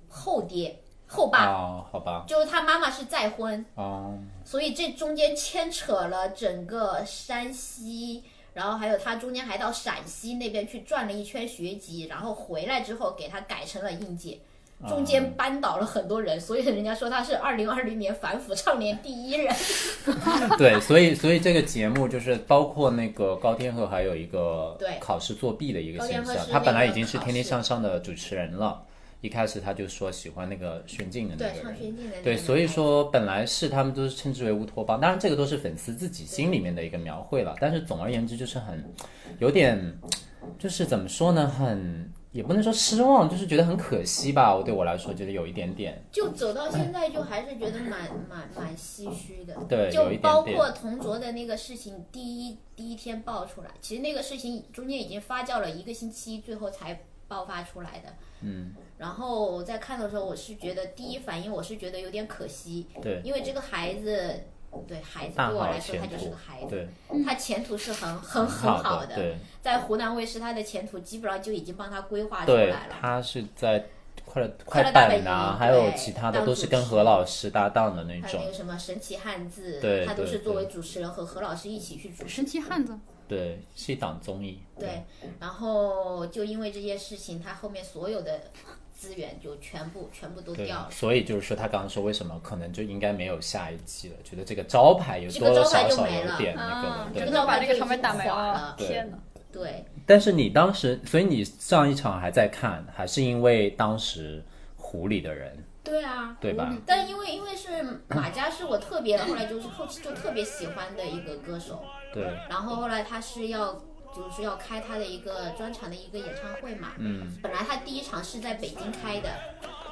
S4: 后爹后爸，
S1: 哦，好吧，
S4: 就是他妈妈是再婚，
S1: 哦，
S4: 所以这中间牵扯了整个山西，然后还有他中间还到陕西那边去转了一圈学籍，然后回来之后给他改成了应届。
S1: 啊
S4: 中间扳倒了很多人，所以人家说他是二零二零年反腐倡廉第一人。
S1: 对，所以所以这个节目就是包括那个高天鹤还有一个
S4: 对
S1: 考试作弊的一个
S4: 高
S1: 现
S4: 天鹤
S1: 象
S4: 是，
S1: 他本来
S4: 那
S1: 已
S4: 个
S1: 经是
S4: 考
S1: 天天
S4: 试
S1: 向上的主持人了，一开始他就说喜欢那个炫进的那
S4: 对，
S1: 个
S4: 唱
S1: 人，
S4: 宣定的那个
S1: 对，
S4: 男
S1: 所以
S4: 孩
S1: 说本来是他们都是称之为乌托邦，当然这个都是粉丝自己心里面的一个描绘了。但是总而言之，就是很有点，就是怎么说呢，很也不能说失望，就是觉得很可惜吧。我对我来说，觉得有一点点，
S4: 就走到现在，就还是觉得蛮蛮蛮唏嘘的。
S1: 对，
S4: 就
S1: 有一
S4: 包
S1: 点点
S4: 括同卓的那个事情，第一第一天爆出来，其实那个事情中间已经发酵了一个星期，最后才爆发出来的。
S1: 嗯，
S4: 然后我在看的时候，我是觉得第一反应我是觉得有点可惜，
S1: 对
S4: 因为这个孩子，对孩子
S1: 大
S4: 对我
S1: 好
S4: 来说
S1: 前
S4: 他就是
S1: 途
S4: 个孩子，
S1: 对，
S4: 他前途是很很很
S1: 好
S4: 好的，
S1: 对
S4: 在湖南卫视他的前途基本上就已经帮他规划出
S1: 对
S4: 来，了。
S1: 他是在快乐快
S4: 快乐大本
S1: 板
S4: 营
S1: 呐、还有
S4: 对
S1: 其他的
S4: 当
S1: 都
S4: 主
S1: 是跟
S4: 持
S1: 何老师搭档的那
S4: 还有
S1: 种
S4: 那，个什么神奇汉字，
S1: 对
S4: 他都
S1: 对
S4: 是作为
S1: 对
S4: 主持人和何老师一起去主持
S3: 神奇汉子，
S1: 对，是一档综艺，
S4: 对，然后就因为这件事情，他后面所有的资源就全部全部都
S1: 对
S4: 掉，了。
S1: 所以就是说，他刚刚说为什么可能就应该没有下一季了，觉得这个招牌也
S4: 这
S1: 多
S4: 个
S1: 多
S4: 招牌
S1: 少
S4: 就
S1: 少
S4: 没了
S1: 有点那个
S3: 啊
S1: 了，，
S4: 这
S1: 对
S4: 个
S3: 真
S4: 招
S3: 的
S4: 牌
S3: 把这个
S4: 就
S3: 场面
S4: 已经
S3: 打没
S4: 垮
S3: 了
S4: 嗯了，
S3: 天哪！
S4: 对，
S1: 但是你当时，所以你上一场还在看，还是因为当时湖里的人，
S4: 对啊。
S1: 对吧？
S4: 但因为因为是马佳是我特别后来就是后期就特别喜欢的一个歌手，
S1: 对，
S4: 然后后来他是要就是要开他的一个专场的一个演唱会嘛，
S1: 嗯，
S4: 本来他第一场是在北京开的，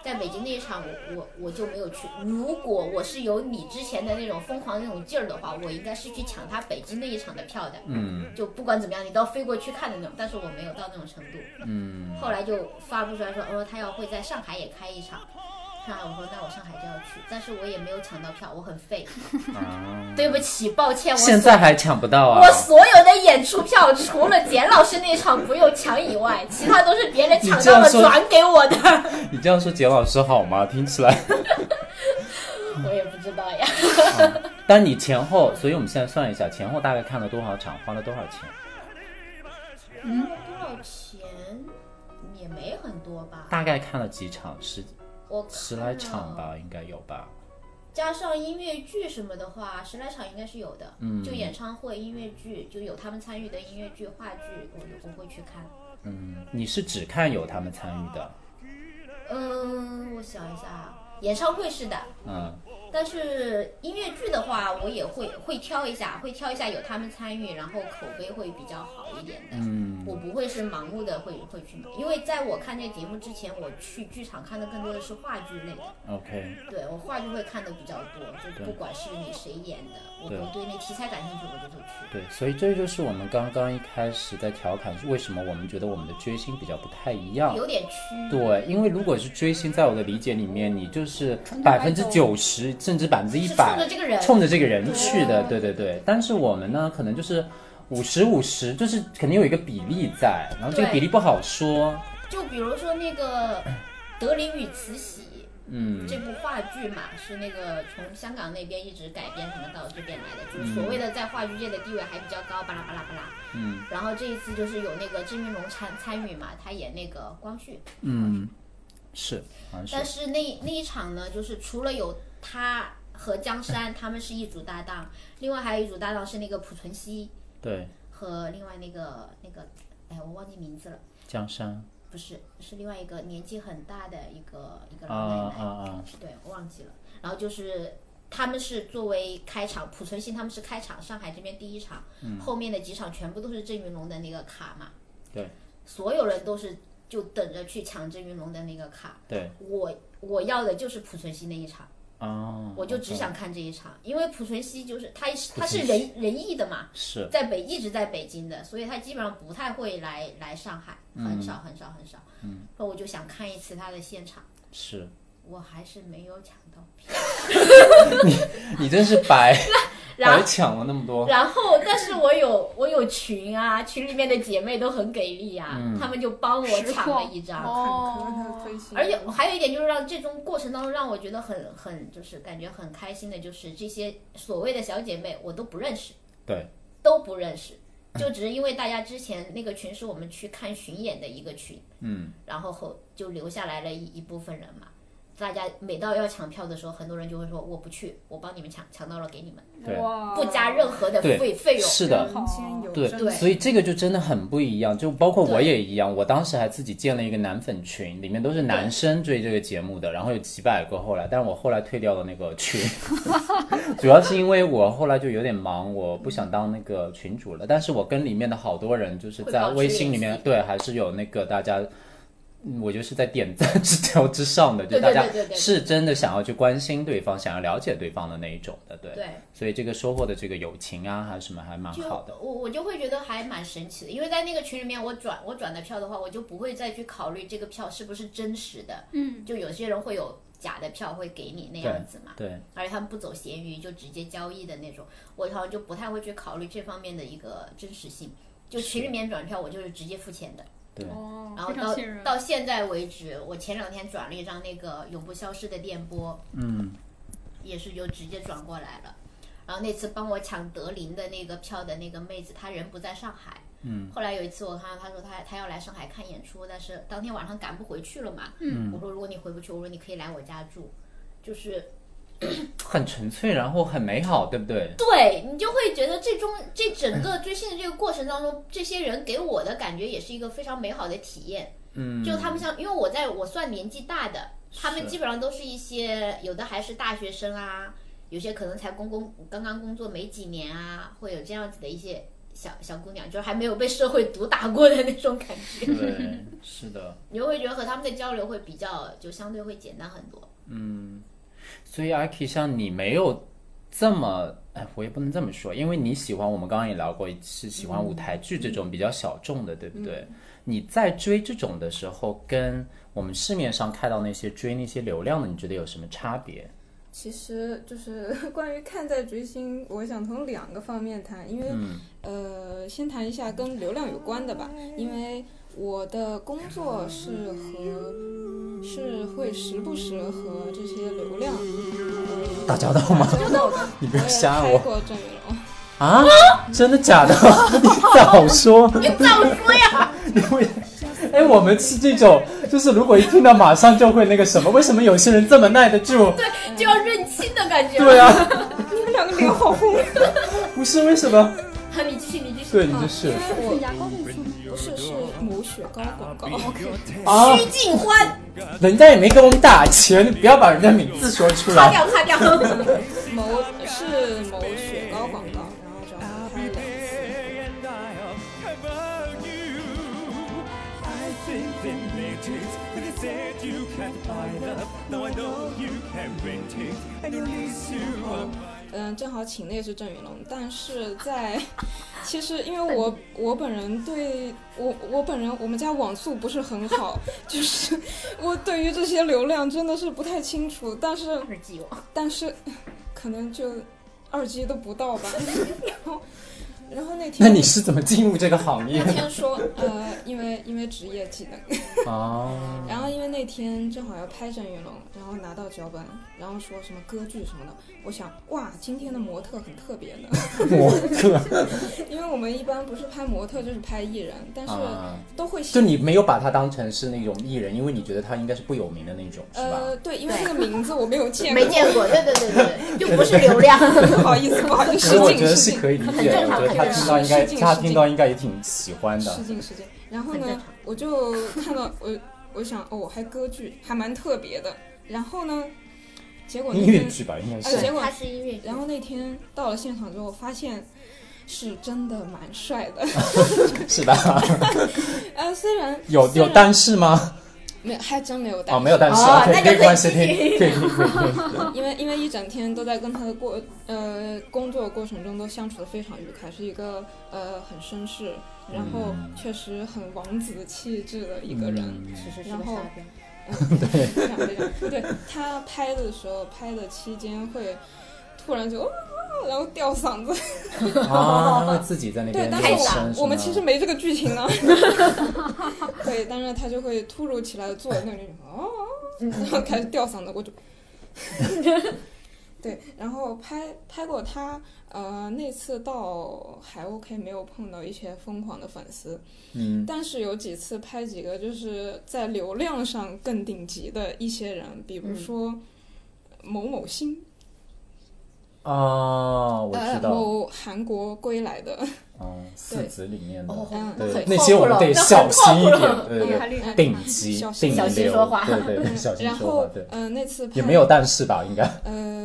S4: 在北京那一场我我我就没有去。如果我是有你之前的那种疯狂的那种劲儿的话，我应该是去抢他北京那一场的票的。
S1: 嗯，
S4: 就不管怎么样，你都要飞过去看的那种，但是我没有到那种程度。嗯，后来就发布出来说，哦，他要会在上海也开一场。上海，我说那我上海就要去，但是我也没有抢到票，我很废，
S1: 啊，
S4: 对不起，抱歉，我所
S1: 现在还抢不到啊
S4: 我！所有的演出票，除了简老师那场不用抢以外，其他都是别人抢到了转给我的。
S1: 你这样说简老师好吗？听起来，
S4: 我也不知道呀，
S1: 但你前后，所以我们现在算一下，前后大概看了多少场，花了多少钱？嗯
S4: 多少钱也没很多吧？
S1: 大概看了几场，十
S4: 我看
S1: 十来场，吧，应该有吧？
S4: 加上音乐剧什么的话，十来场应该是有的。
S1: 嗯
S4: 就演唱会、音乐剧，就有他们参与的音乐剧、话剧，我我会去看。
S1: 嗯，你是只看有他们参与的，
S4: 嗯，我想一下啊，演唱会是的，
S1: 嗯。
S4: 但是音乐剧的话，我也会会挑一下，会挑一下有他们参与，然后口碑会比较好一点的。嗯，我不会是盲目的会会去买，因为在我看这个节目之前，我去剧场看的更多的是话剧类的，
S1: OK，
S4: 对我话剧会看的比较多，就不管是你谁演的，我
S1: 对
S4: 我对那题材感兴趣，我就会去。
S1: 对，所以这就是我们刚刚一开始在调侃，为什么我们觉得我们的追星比较不太一样。
S4: 有点区，
S1: 哦对，因为如果是追星，在我的理解里面，你就是百分之九十甚至百分之一
S4: 是冲着
S1: 百
S4: 这个人，
S1: 冲着这个人去的，对对对。但是我们呢，可能就是五十五十，就是肯定有一个比例在，然后这个
S4: 对
S1: 比例不好说。
S4: 就比如说那个德林与慈禧。
S1: 嗯，
S4: 这部话剧嘛，是那个从香港那边一直改编成到这边来的，就是所谓的在话剧界的地位还比较高，巴拉巴拉巴拉。
S1: 嗯。
S4: 然后这一次就是有那个郑云龙参参与嘛，他演那个光绪，
S1: 嗯，是，好像
S4: 但
S1: 是
S4: 是那那一场呢，就是除了有他和江山他们是一组搭档，另外还有一组搭档是那个濮存昕
S1: 对
S4: 和另外那个那个，哎，我忘记名字了，
S1: 江山
S4: 不是是另外一个年纪很大的一个一个
S1: 啊
S4: 老奶奶。
S1: 啊啊，
S4: 对，我忘记了。然后就是他们是作为开场，濮存昕他们是开场，上海这边第一场，
S1: 嗯
S4: 后面的几场全部都是郑云龙的那个卡嘛。
S1: 对，
S4: 所有人都是就等着去抢郑云龙的那个卡。
S1: 对，
S4: 我我要的就是濮存昕那一场，
S1: 哦，
S4: 我就只
S1: OK
S4: 想看这一场，因为濮存昕就是他是，他
S1: 濮存
S4: 是
S1: 昕
S4: 仁仁义的嘛，
S1: 是
S4: 在北一直在北京的，所以他基本上不太会来来上海，很少很少很少。嗯，那我就想看一次他的现场，
S1: 是，
S4: 我还是没有抢到票。
S1: 你真是白
S4: 然
S1: 白
S4: 后
S1: 抢了那么多，
S4: 然后，但是我有我有群啊，群里面的姐妹都很给力啊，
S1: 嗯
S4: 她们就帮我
S3: 实
S4: 抢
S3: 况
S4: 了一张。
S2: 看
S3: 哦
S2: 看看他最新，
S4: 而且还有一点就是让这种过程当中让我觉得很很就是感觉很开心的，就是这些所谓的小姐妹我都不认识，
S1: 对，
S4: 都不认识，就只是因为大家之前那个群是我们去看巡演的一个群，
S1: 嗯，
S4: 然后后就留下来了一一部分人嘛。大家每到要抢票的时候，很多人就会说我不去，我帮你们抢，抢到了给你们，
S1: 对
S3: 哇，
S4: 不加任何的
S1: 对
S4: 费费用。
S1: 是的，
S2: 民间有
S1: 对，
S2: 真
S4: 对
S1: 所以这个就真的很不一样，就包括我也一样，我当时还自己建了一个男粉群，里面都是男生追这个节目的，然后有几百个后来，但是我后来退掉了那个 群，主要是因为我后来就有点忙，我不想当那个群主了，但是我跟里面的好多人就是
S4: 会
S1: 在
S4: 保持
S1: 微信里面
S4: 联系，
S1: 对，还是有那个大家。嗯我就是在点赞之 条之上的，就
S4: 对
S1: 大
S4: 对
S1: 家
S4: 对对对
S1: 是真的想要去关心对方，想要了解对方的那一种的，对。
S4: 对，
S1: 所以这个收获的这个友情啊，还是什么，还蛮
S4: 就
S1: 好的。
S4: 我我就会觉得还蛮神奇的，因为在那个群里面，我转我转的票的话，我就不会再去考虑这个票是不是真实的。嗯，就有些人会有假的票会给你那样子嘛，
S1: 对，
S4: 而且他们不走闲鱼，就直接交易的那种，我好像就不太会去考虑这方面的一个真实性。就群里面转票，我就是直接付钱的。
S1: 对，
S3: 哦，
S4: 然后
S3: 非常
S4: 到
S3: 信任。
S4: 到现在为止，我前两天转了一张那个永不消失的电波，
S1: 嗯，
S4: 也是就直接转过来了。然后那次帮我抢德林的那个票的那个妹子，她人不在上海。嗯。后来有一次我看到她说她她要来上海看演出，但是当天晚上赶不回去了嘛。嗯。我说如果你回不去，我说你可以来我家住，就是
S1: 很纯粹，然后很美好，对不对？
S4: 对你就会觉得这中这整个追星的这个过程当中，这些人给我的感觉也是一个非常美好的体验。
S1: 嗯，
S4: 就他们像，因为我在我算年纪大的，他们
S1: 是
S4: 基本上都是一些有的还是大学生啊，有些可能才工工刚刚工作没几年啊，会有这样子的一些小小姑娘，就是还没有被社会毒打过的那种感觉，
S1: 嗯对，是的，
S4: 你就会觉得和他们的交流会比较就相对会简单很多。
S1: 所以阿 K 像你没有这么，哎，我也不能这么说，因为你喜欢，我们刚刚也聊过，是喜欢舞台剧这种比较小众的，对不对？
S2: 嗯
S1: 你在追这种的时候，跟我们市面上看到那些追那些流量的，你觉得有什么差别？
S2: 其实就是 关于看待追星，我想从两个方面谈，因为、
S1: 嗯
S2: 呃，先谈一下跟流量有关的吧，因为我的工作是和是会时不时和这些流量呃
S1: 打交道吗？ 你不
S2: 我
S1: 要
S2: 也
S1: 吓
S2: 拍
S1: 我
S2: 过郑云龙，
S1: 啊！真的假 的？你早说！
S4: 你早 说呀！
S1: 为，哎，我们是这种，就是如果一听到马上就会那个什么，为什么有些人这么耐得住？
S4: 对，就要认亲的感觉。
S1: 对啊，
S2: 你们两个脸好红。
S1: 不是为什么？
S4: 你继续，你继续。
S1: 对你就是
S3: 是牙膏可以送
S2: 不是是某雪糕广告，
S1: 啊，
S4: 鞠婧祎，
S1: 人家也没给我们打钱，你不要把人家名字说出
S4: 擦
S1: 来。
S4: 掉，擦掉。
S2: 某是某雪糕广告，然后专门拍了一次。嗯，正好请的也是郑云龙，但是在其实因为我我本人对我我本人我们家网速不是很好，就是我对于这些流量真的是不太清楚，但是
S4: 耳机王，
S2: 但是可能就二 G 都不到吧。然后然后那
S1: 那
S2: 天
S1: 你是怎么进入这个行业
S2: 那
S1: 的？
S2: 天说呃，因为因为职业技能，
S1: 哦，
S2: 然后因为那天正好要拍郑云龙，然后拿到脚本，然后说什么歌剧什么的，我想哇，今天的模特很特别呢。
S1: 模特
S2: 因为我们一般不是拍模特就是拍艺人，但是
S1: 啊，
S2: 都会
S1: 就你没有把他当成是那种艺人，因为你觉得他应该是不有名的那种，是吧？
S2: 呃，对，因为这个名字我没有见过，
S4: 没见过，对对对对对，就不是流量。
S2: 不好意思，不好意
S1: 其
S2: 思，
S1: 实我
S2: 失
S1: 觉得是
S2: 敬失敬，
S1: 可以理解的，我觉得他听到应该，他听到应该也挺喜欢的
S2: 失。敬失敬。然后
S4: 很正
S2: 呢
S4: 常，
S2: 我就看到我，我想哦，还歌剧，还蛮特别的。然后呢，结果那
S1: 音乐
S2: 天，
S1: 剧吧，应该
S2: 哎
S1: 是。
S2: 结果
S4: 他是音乐剧，
S2: 然后那天到了现场之后，发现是真的蛮帅的。
S1: 是吧？
S2: 呃，虽然
S1: 有
S2: 虽
S1: 有
S2: 然
S1: 单视吗？
S2: 没有，还真没有带。
S1: 哦，没有但是
S4: 哦
S1: ，OK，
S4: 那就
S1: 可以
S4: 可以
S1: 关系听，
S4: 听
S1: 可以听，可以听。
S2: 因为因为一整天都在跟他的过呃工作过程中都相处的非常愉快，是一个呃很绅士，然后
S1: 嗯
S2: 确实很王子气质的一个人。
S1: 嗯
S4: 其实是
S2: 然
S4: 个
S2: 后
S4: 傻逼。
S2: 对，非常非常对。他拍的时候，拍的期间会突然就，哦、然后吊嗓子。
S1: 啊，他会自己在那
S2: 对，
S1: 边
S2: 但
S1: 练
S2: 是
S1: 声，
S2: 我我们其实
S1: 吗
S2: 没这个剧情啊。 对，但是他就会突如其来的坐在那里，哦， 然后开始吊嗓子，我就。对，然后拍拍过他，呃，那次倒还 OK，没有碰到一些疯狂的粉丝，
S1: 嗯
S2: 但是有几次拍几个就是在流量上更顶级的一些人，比如说某某星，
S1: 哦，我
S2: 呃
S1: 知，道，
S2: 某韩国归来的，
S1: 嗯，四子里面的，
S4: 哦
S2: 嗯，
S1: 对
S4: 很
S1: 那些我们得小心一
S4: 那
S1: 点
S4: 很靠，谱
S1: 对对
S3: 还厉
S1: 对，
S3: 害
S1: 顶级
S2: 小心
S1: 顶
S4: 小心
S1: 流
S4: 说话，
S1: 对对对，
S2: 嗯
S1: 小心
S2: 然
S1: 说
S2: 后
S1: 话，对，
S2: 呃，那次拍
S1: 也没有但是吧，应该
S2: 呃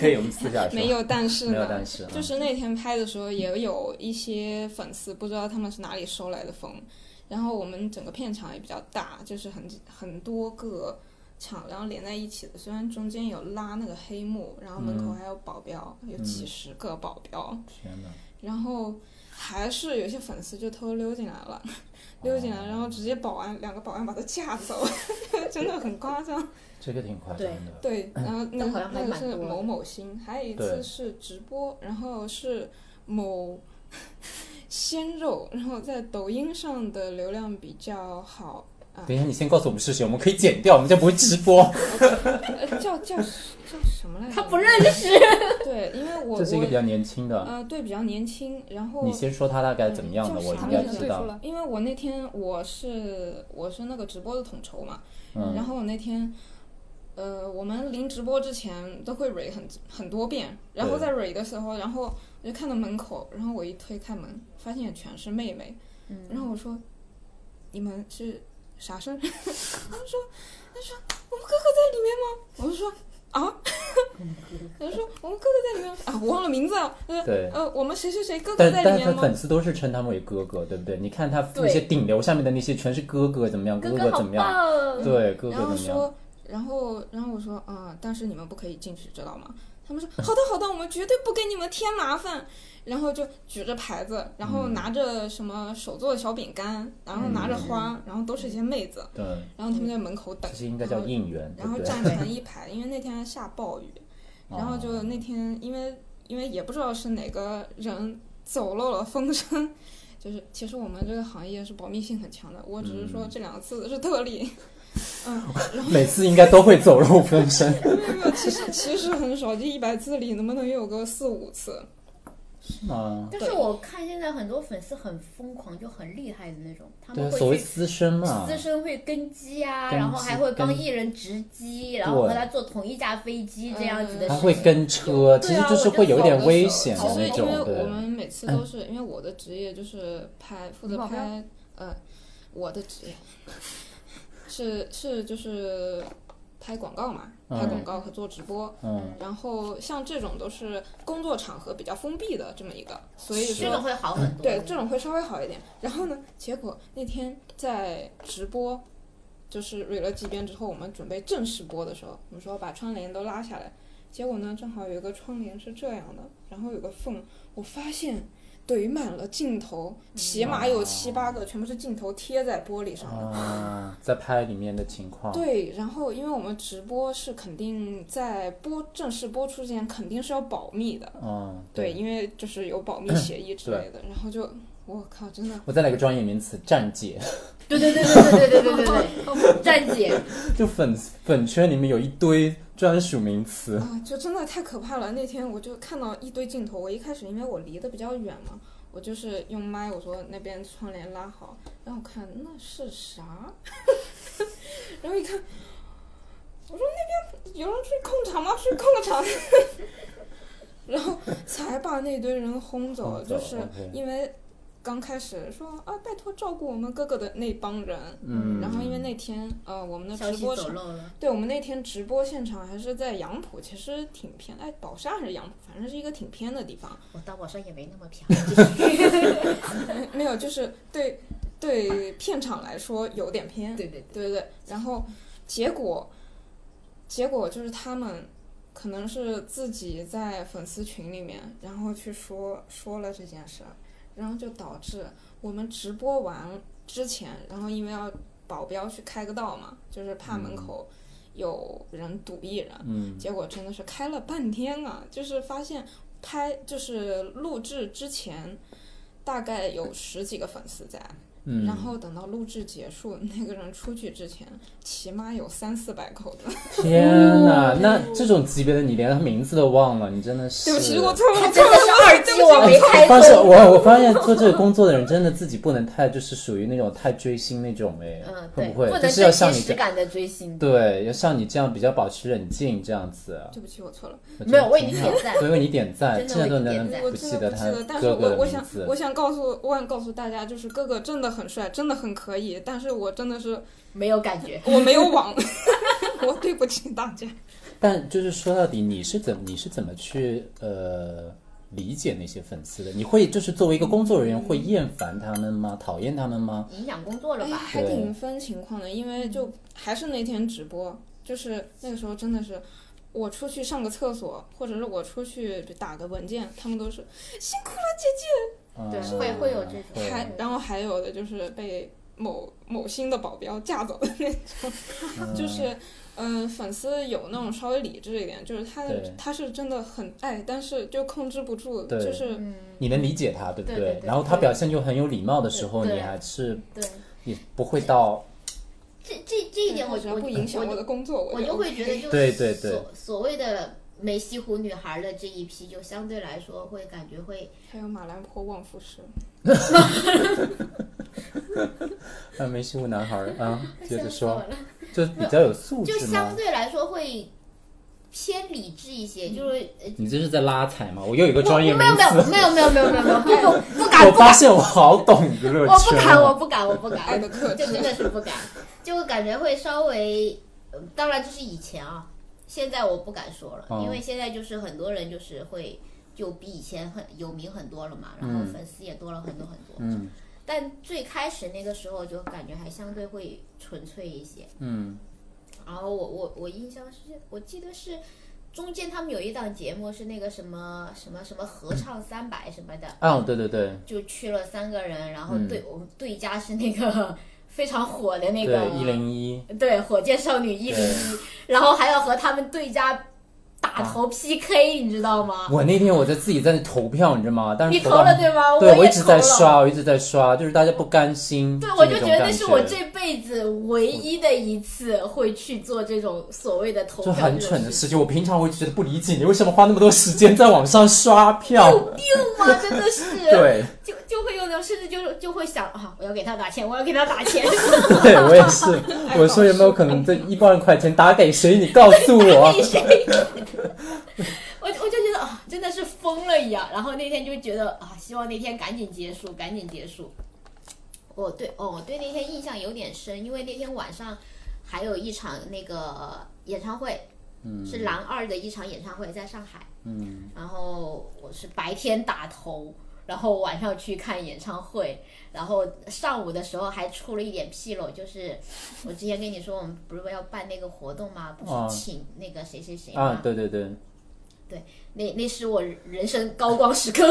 S1: 可以，我们私下说，
S2: 没有，但是
S1: 啊没有
S2: 呢，
S1: 但是，
S2: 就
S1: 嗯
S2: 是那天拍的时候，也有一些粉丝不知道他们是哪里收来的风，然后我们整个片场也比较大，就是很很多个场，然后连在一起的。虽然中间有拉那个黑幕，然后门口
S1: 嗯
S2: 还有保镖，有几十个保镖，
S1: 天哪，
S2: 然后还是有些粉丝就偷偷溜进来了，溜进来，然后直接保安两个保安把他架走， 真的很夸张。
S1: 这个挺夸张的，
S2: 对，然后那
S4: 但好像
S2: 个
S4: 还
S2: 那个
S4: 蛮
S2: 是
S4: 多的
S2: 某某星，还有一
S1: 对
S2: 次是直播，然后是某 鲜肉，然后在抖音上的流量比较好，
S1: 等一下你先告诉我们是谁，我们可以剪掉，我们就不会直播，
S2: 呃，叫叫叫什么来着？
S4: 他不认识，
S2: 对，因为我
S1: 这是一个比
S2: 我
S1: 较年轻的，
S2: 呃对比较年轻，然后
S1: 你先说他大概怎么样的，
S2: 嗯
S1: 我应
S2: 就是
S1: 该
S2: 他们
S1: 知
S3: 对
S1: 道
S3: 出，了，
S2: 因为我那天我是我是那个直播的统筹嘛，
S1: 嗯
S2: 然后我那天，呃，我们临直播之前都会蕊很很多遍，然后
S1: 对
S2: 在蕊的时候，然后我就看到门口，然后我一推开门，发现全是妹妹，然后我说，你们是啥事儿？ 他们说，他说我们哥哥在里面吗？我就说。啊， 他说我们哥哥在里面啊，我忘了名字了。呃
S1: 对
S2: 呃，我们谁谁谁哥哥
S1: 但
S2: 在
S1: 但
S2: 里
S1: 他
S2: 面吗？
S1: 粉丝都是称他们为哥哥，对不对？你看他
S4: 对
S1: 那些顶流下面的那些全是哥哥怎么样，哥
S4: 哥好
S1: 怎么样，
S4: 棒，
S1: 对哥
S2: 然
S1: 哥
S2: 后
S1: 怎么样，
S2: 说，然后然后我说，啊、但是你们不可以进去，知道吗？他们说，好的好的，我们绝对不给你们添麻烦。然后就举着牌子，然
S1: 嗯
S2: 后拿着什么手做的小饼干，然后拿着花，然后都是一些妹子，
S1: 对，
S2: 然后他们在门口等
S1: 这，是应该叫应援，对
S2: 然后
S1: 不对？
S2: 站成一排，因为那天还下暴雨，
S1: 哦
S2: 然后就那天因为因为也不知道是哪个人走漏了风声。就是，其实我们这个行业是保密性很强的，我只是
S1: 嗯
S2: 说这两次是特例， 嗯，
S1: 每次应该都会走漏风 声，
S2: 没有，其实其实很少，就一百字里能不能也有个四五次？
S1: 啊，
S4: 但是我看现在很多粉丝很疯狂，就很厉害的那种，他
S1: 对，
S4: 们
S1: 所
S4: 会
S1: 谓
S4: 去
S1: 私生嘛
S4: 资，深会跟机啊，
S1: 跟
S4: 然后
S1: 机
S4: 还会帮
S1: 跟
S4: 艺人值机，然后和他坐同一架飞机这样子的
S2: 嗯
S1: 他
S4: 事
S1: 会
S4: 情。
S1: 跟车，其
S4: 对
S1: 实
S4: 啊
S1: 就是会有一点危险
S2: 其
S1: 的
S2: 实
S1: 那
S2: 因
S1: 种
S2: 为，我
S1: 对。嗯
S2: 们每次都是因为我的职业就是拍负责拍呃，我的职业是是就是拍广告嘛，
S1: 嗯
S2: 拍广告和做直播。
S1: 嗯，
S2: 然后像这种都是工作场合比较封闭的这么一个，所以
S4: 这
S2: 说
S4: 种会好很多。
S2: 对，这种会稍微好一点。然后呢，结果那天在直播，就是捋了几遍之后，我们准备正式播的时候，我们说把窗帘都拉下来。结果呢，正好有一个窗帘是这样的，然后有个缝，我发现怼满了镜头，起码有七八个，全部是镜头贴在玻璃上的。
S1: 啊，在拍里面的情况，
S2: 对，然后因为我们直播是肯定在播正式播出之前肯定是要保密的，
S1: 嗯，
S2: 对，。因为就是有保密协议之类的。然后就我靠，真的
S1: 我再来个专业名词，站姐，
S4: 对对对对对对对对对对，站姐，
S1: 就粉粉圈里面有一堆专属名词，
S2: 啊，就真的太可怕了。那天我就看到一堆镜头，我一开始因为我离得比较远嘛，我就是用麦我说那边窗帘拉好，然后我看那是啥， 然后一看，我说那边有人去控场吗？去控了场。 然后才把那堆人轰走，
S1: 轰走
S2: 就是
S1: ，OK
S2: 因为刚开始说啊，拜托照顾我们哥哥的那帮人，
S1: 嗯，
S2: 然后因为那天呃我们的
S4: 消
S2: 直
S4: 息
S2: 播
S4: 走
S2: 场
S4: 漏了。
S2: 对我们那天直播现场还是在杨浦，其实挺偏，哎，宝山还是杨浦，反正是一个挺偏的地方。嗯
S4: 我到网上也没那么便宜，
S2: 没有，就是对对片场来说有点偏，
S4: 对对对，
S2: 对对对，然后结果结果就是他们可能是自己在粉丝群里面，然后去说说了这件事儿，然后就导致我们直播完之前，然后因为要保镖去开个道嘛，就是怕门口有人堵艺人，
S1: 嗯，
S2: 结果真的是开了半天啊，就是发现拍就是录制之前大概有十几个粉丝在，
S1: 嗯
S2: 然后等到录制结束，那个人出去之前，起码有三四百口子。
S1: 天哪，那这种级别的你连他名字都忘了，你真的是。
S2: 对不起，我错
S4: 他
S2: 了，
S4: 真的是二
S2: 对
S4: 级，
S2: 不起
S4: 我没开
S1: 发现
S4: 通。
S1: 我我发现做这个工作的人真的自己不能太就是属于那种太追星那种哎，
S4: 嗯，
S1: 会
S4: 对，
S1: 不会
S4: 能
S1: 就是要
S4: 真
S1: 像
S4: 情
S1: 你
S4: 实
S1: 这样，
S4: 感的追星。
S1: 对，要像你这样比较保持冷静这样子。
S2: 对不起，我错了。
S1: 我觉得
S4: 没有为你
S1: 挺好
S4: 点赞
S1: 所以为你点赞，
S4: 真的
S1: 现在都
S4: 为你
S1: 能
S4: 点赞
S2: 我
S1: 嗯不
S2: 真
S1: 记得
S2: 的不
S1: 他
S2: 记得，但是
S1: 哥哥
S2: 我
S1: 的
S2: 我
S1: 名
S2: 想
S1: 字
S2: 我。想告诉我想告诉大家，就是哥哥真的很帅，真的很可以，但是我真的是
S4: 没有感觉。
S2: 我没有网， 我对不起大家。
S1: 但就是说到底，你是怎你是怎么去呃理解那些粉丝的？你会就是作为一个工作人员会厌烦他们吗？讨厌他们吗？
S4: 影响工作了
S2: 哎，
S4: 吧？
S2: 还
S1: 对
S2: 挺分情况的，因为就还是那天直播，就是那个时候真的是。我出去上个厕所，或者是我出去打个文件，他们都是辛苦了姐姐，
S1: 嗯
S4: 对会会有这种
S1: 会嗯
S2: 还然后还有的就是被某某星的保镖架走的那种，就是嗯、呃粉丝有那种稍微理智一点，就是他
S1: 对
S2: 他是真的很爱，但是就控制不住，
S1: 对
S2: 就是
S4: 嗯，
S1: 你能理解他，对不
S4: 对对对
S1: 然后他表现就很有礼貌的时候，
S4: 对
S1: 你还是
S4: 对，
S1: 也不会到
S4: 这这这一点我
S2: 只要
S4: 我
S2: 不影响
S4: 我
S2: 我的工作，
S4: 我就会觉得，就
S1: 对对对
S4: 所所谓的梅西湖女孩的这一批，就相对来说会感觉会
S2: 还有马兰坡旺夫石，
S1: 啊没西湖男孩儿 啊，接着
S4: 笑死我
S1: 说，
S4: 了
S1: 就比较有素
S4: 就
S1: 质
S4: 相
S1: 吗？
S4: 对来说会偏理智一些，就是呃
S1: 你这是在拉踩吗？我又有一个专业
S4: 没
S1: 名
S4: 有没有
S1: 词，
S4: 没有没有没有没有没有不不不敢
S1: 我
S4: 不
S1: 发
S4: 敢，
S1: 现我好懂娱乐
S4: 我不
S1: 圈
S4: 敢我
S1: 啊，
S4: 不敢我不
S2: 爱
S4: 敢，
S2: 的克
S4: 就
S2: 制
S4: 真。的是不敢，就感觉会稍微，呃当然这是以前啊，现在我不敢说了，
S1: 哦
S4: 因为现在就是很多人就是会就比以前很有名很多了嘛，然后
S1: 嗯
S4: 粉丝也多了很多很多，
S1: 嗯
S4: 但最开始那个时候就感觉还相对会纯粹一些。
S1: 嗯
S4: 然后我我我印象是，我记得是中间他们有一档节目是那个什么什么什么合唱三百什么的，
S1: 啊，对对对
S4: 就去了三个人，然后
S1: 嗯
S4: 对、我们对家是那个 非常火的那个
S1: 对，一零一，
S4: 对火箭少女一零
S1: 对啊
S4: 一，然后还要和他们对家打头 PK，、你知道吗？
S1: 我那天我在自己在那投票，你知道吗？但是
S4: 你
S1: 投
S4: 投
S1: 到
S4: 了对吗？
S1: 对，
S4: 我
S1: 我
S4: 也
S1: 一直在
S4: 投了
S1: 刷，我一直在刷，就是大家不甘心。
S4: 对，
S1: 就
S4: 我就
S1: 那
S4: 觉
S1: 种
S4: 得
S1: 感
S4: 那是我这辈子唯一的一次会去做这种所谓的投
S1: 就
S4: 票，
S1: 很蠢的事情。我平常我就觉得不理解你为什么花那么多时间在网上刷票。，
S4: 情嘛，真的是
S1: 对，
S4: 就就会有种，甚至就就会想啊，我要给他打钱，我要给他打钱，
S1: 对我也 是。我说有没有可能这一万块钱打给谁？你告诉 我。
S4: 给谁？我我就觉得啊，真的是疯了一样。然后那天就觉得啊，希望那天赶紧结束，赶紧结束。我对哦，我对那天印象有点深，因为那天晚上还有一场那个演唱会，是蓝二的一场演唱会，在上海。
S1: 嗯，
S4: 然后我是白天打头，然后晚上去看演唱会，然后上午的时候还出了一点纰漏，就是我之前跟你说我们不是要办那个活动吗？不
S1: 啊
S4: 是请那个谁谁谁吗？
S1: 啊，对对对，
S4: 那那是我人生高光时刻，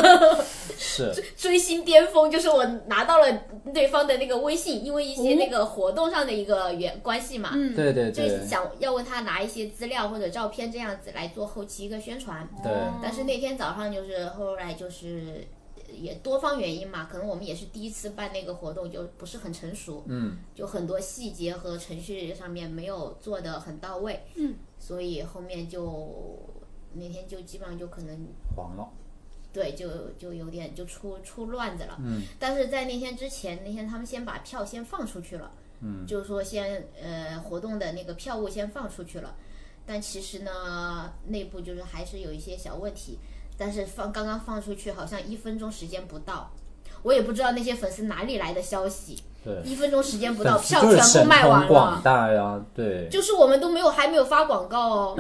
S1: 是。
S4: 追星巅峰，就是我拿到了对方的那个微信，因为一些那个活动上的一个缘关系嘛。
S3: 嗯，
S1: 对对
S4: 就
S1: 对
S4: 是想要问他拿一些资料或者照片这样子来做后期一个宣传，
S1: 对，
S4: 但是那天早上就是后来就是呃也多方原因嘛，可能我们也是第一次办那个活动，就不是很成熟，
S1: 嗯，
S4: 就很多细节和程序上面没有做的很到位，
S3: 嗯，
S4: 所以后面就那天就基本上就可能
S1: 黄了。
S4: 对，就就有点就出出乱子了。嗯，但是在那天之前，那天他们先把票先放出去了。嗯，就是说先呃活动的那个票务先放出去了，但其实呢内部就是还是有一些小问题，但是放刚刚放出去好像一分钟时间不到。我也不知道那些粉丝哪里来的消息，
S1: 对，
S4: 一分钟时间不到，
S1: 粉丝
S4: 票
S1: 就是
S4: 全
S1: 神
S4: 部卖
S1: 通
S4: 完
S1: 广
S4: 了，
S1: 大呀，对。
S4: 就是我们都没有还没有发广告 哦，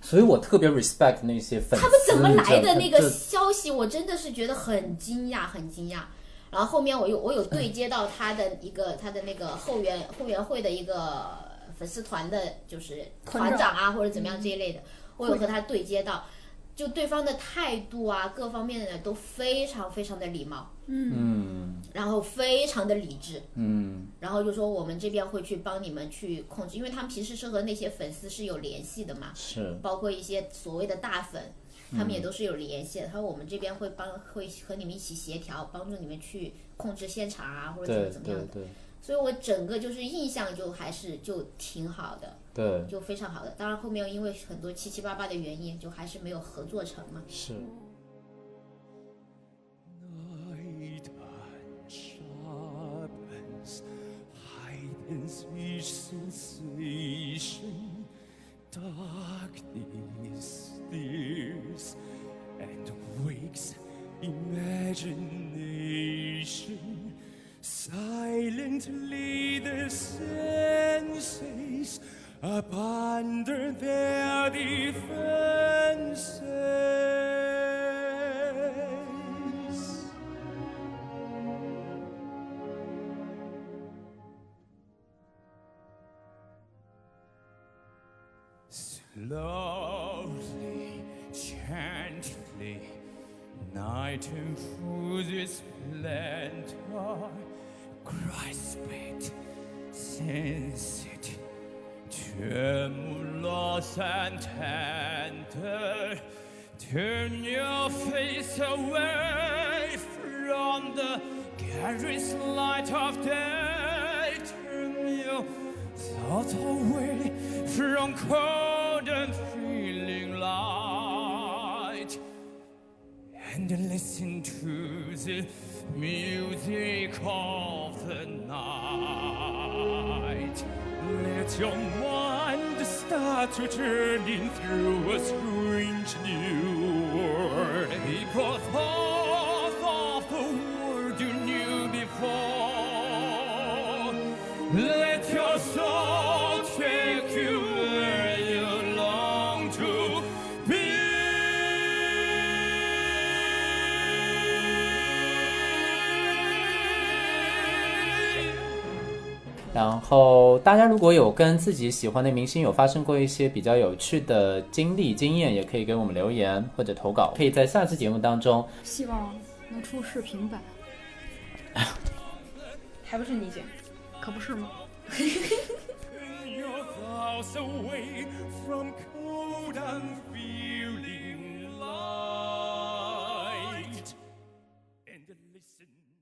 S1: 所以我特别 respect 那些粉丝。
S4: 他们怎么来的
S1: 这
S4: 那个消息，我真的是觉得很惊讶，很惊讶。然后后面我有我有对接到他的一个他的那个后援后援会的一个粉丝团的，就是团长啊或者怎么样这一类的，我有和他对接到，就对方的态度啊各方面的都非常非常的礼貌，
S1: 嗯
S4: 然后非常的理智，
S1: 嗯
S4: 然后就说我们这边会去帮你们去控制，因为他们平时是和那些粉丝是有联系的嘛，
S1: 是
S4: 包括一些所谓的大粉，
S1: 嗯
S4: 他们也都是有联系的。他说我们这边会帮，会和你们一起协调，帮助你们去控制现场啊，或者怎么
S1: 对对
S4: 怎么样的。
S1: 对
S4: 所以我整个就是印象就还是就挺好的，
S1: 对
S4: 就非常好的。当然后面因为很多七七八八的原因，就还是没有合作成嘛。
S1: 是
S6: Slowly, gently, night and through this splendor, grasp it, sense it, 全部 lost and tender. Turn your face away from the glorious light of day. Turn your thoughts away from cold and feeling light. And listen to the music of the night. Let your mind start to turn in through a strange new world. Because half of the world you knew before. Let your soul take you where you long to be. Yeah.
S1: 然后大家如果有跟自己喜欢的明星有发生过一些比较有趣的经历经验，也可以给我们留言或者投稿，可以在下期节目当中。
S3: 希望能出视频版，
S2: 还不是你姐。
S3: 可不是吗？
S6: Turn your thoughts away from cold and feeling light and listen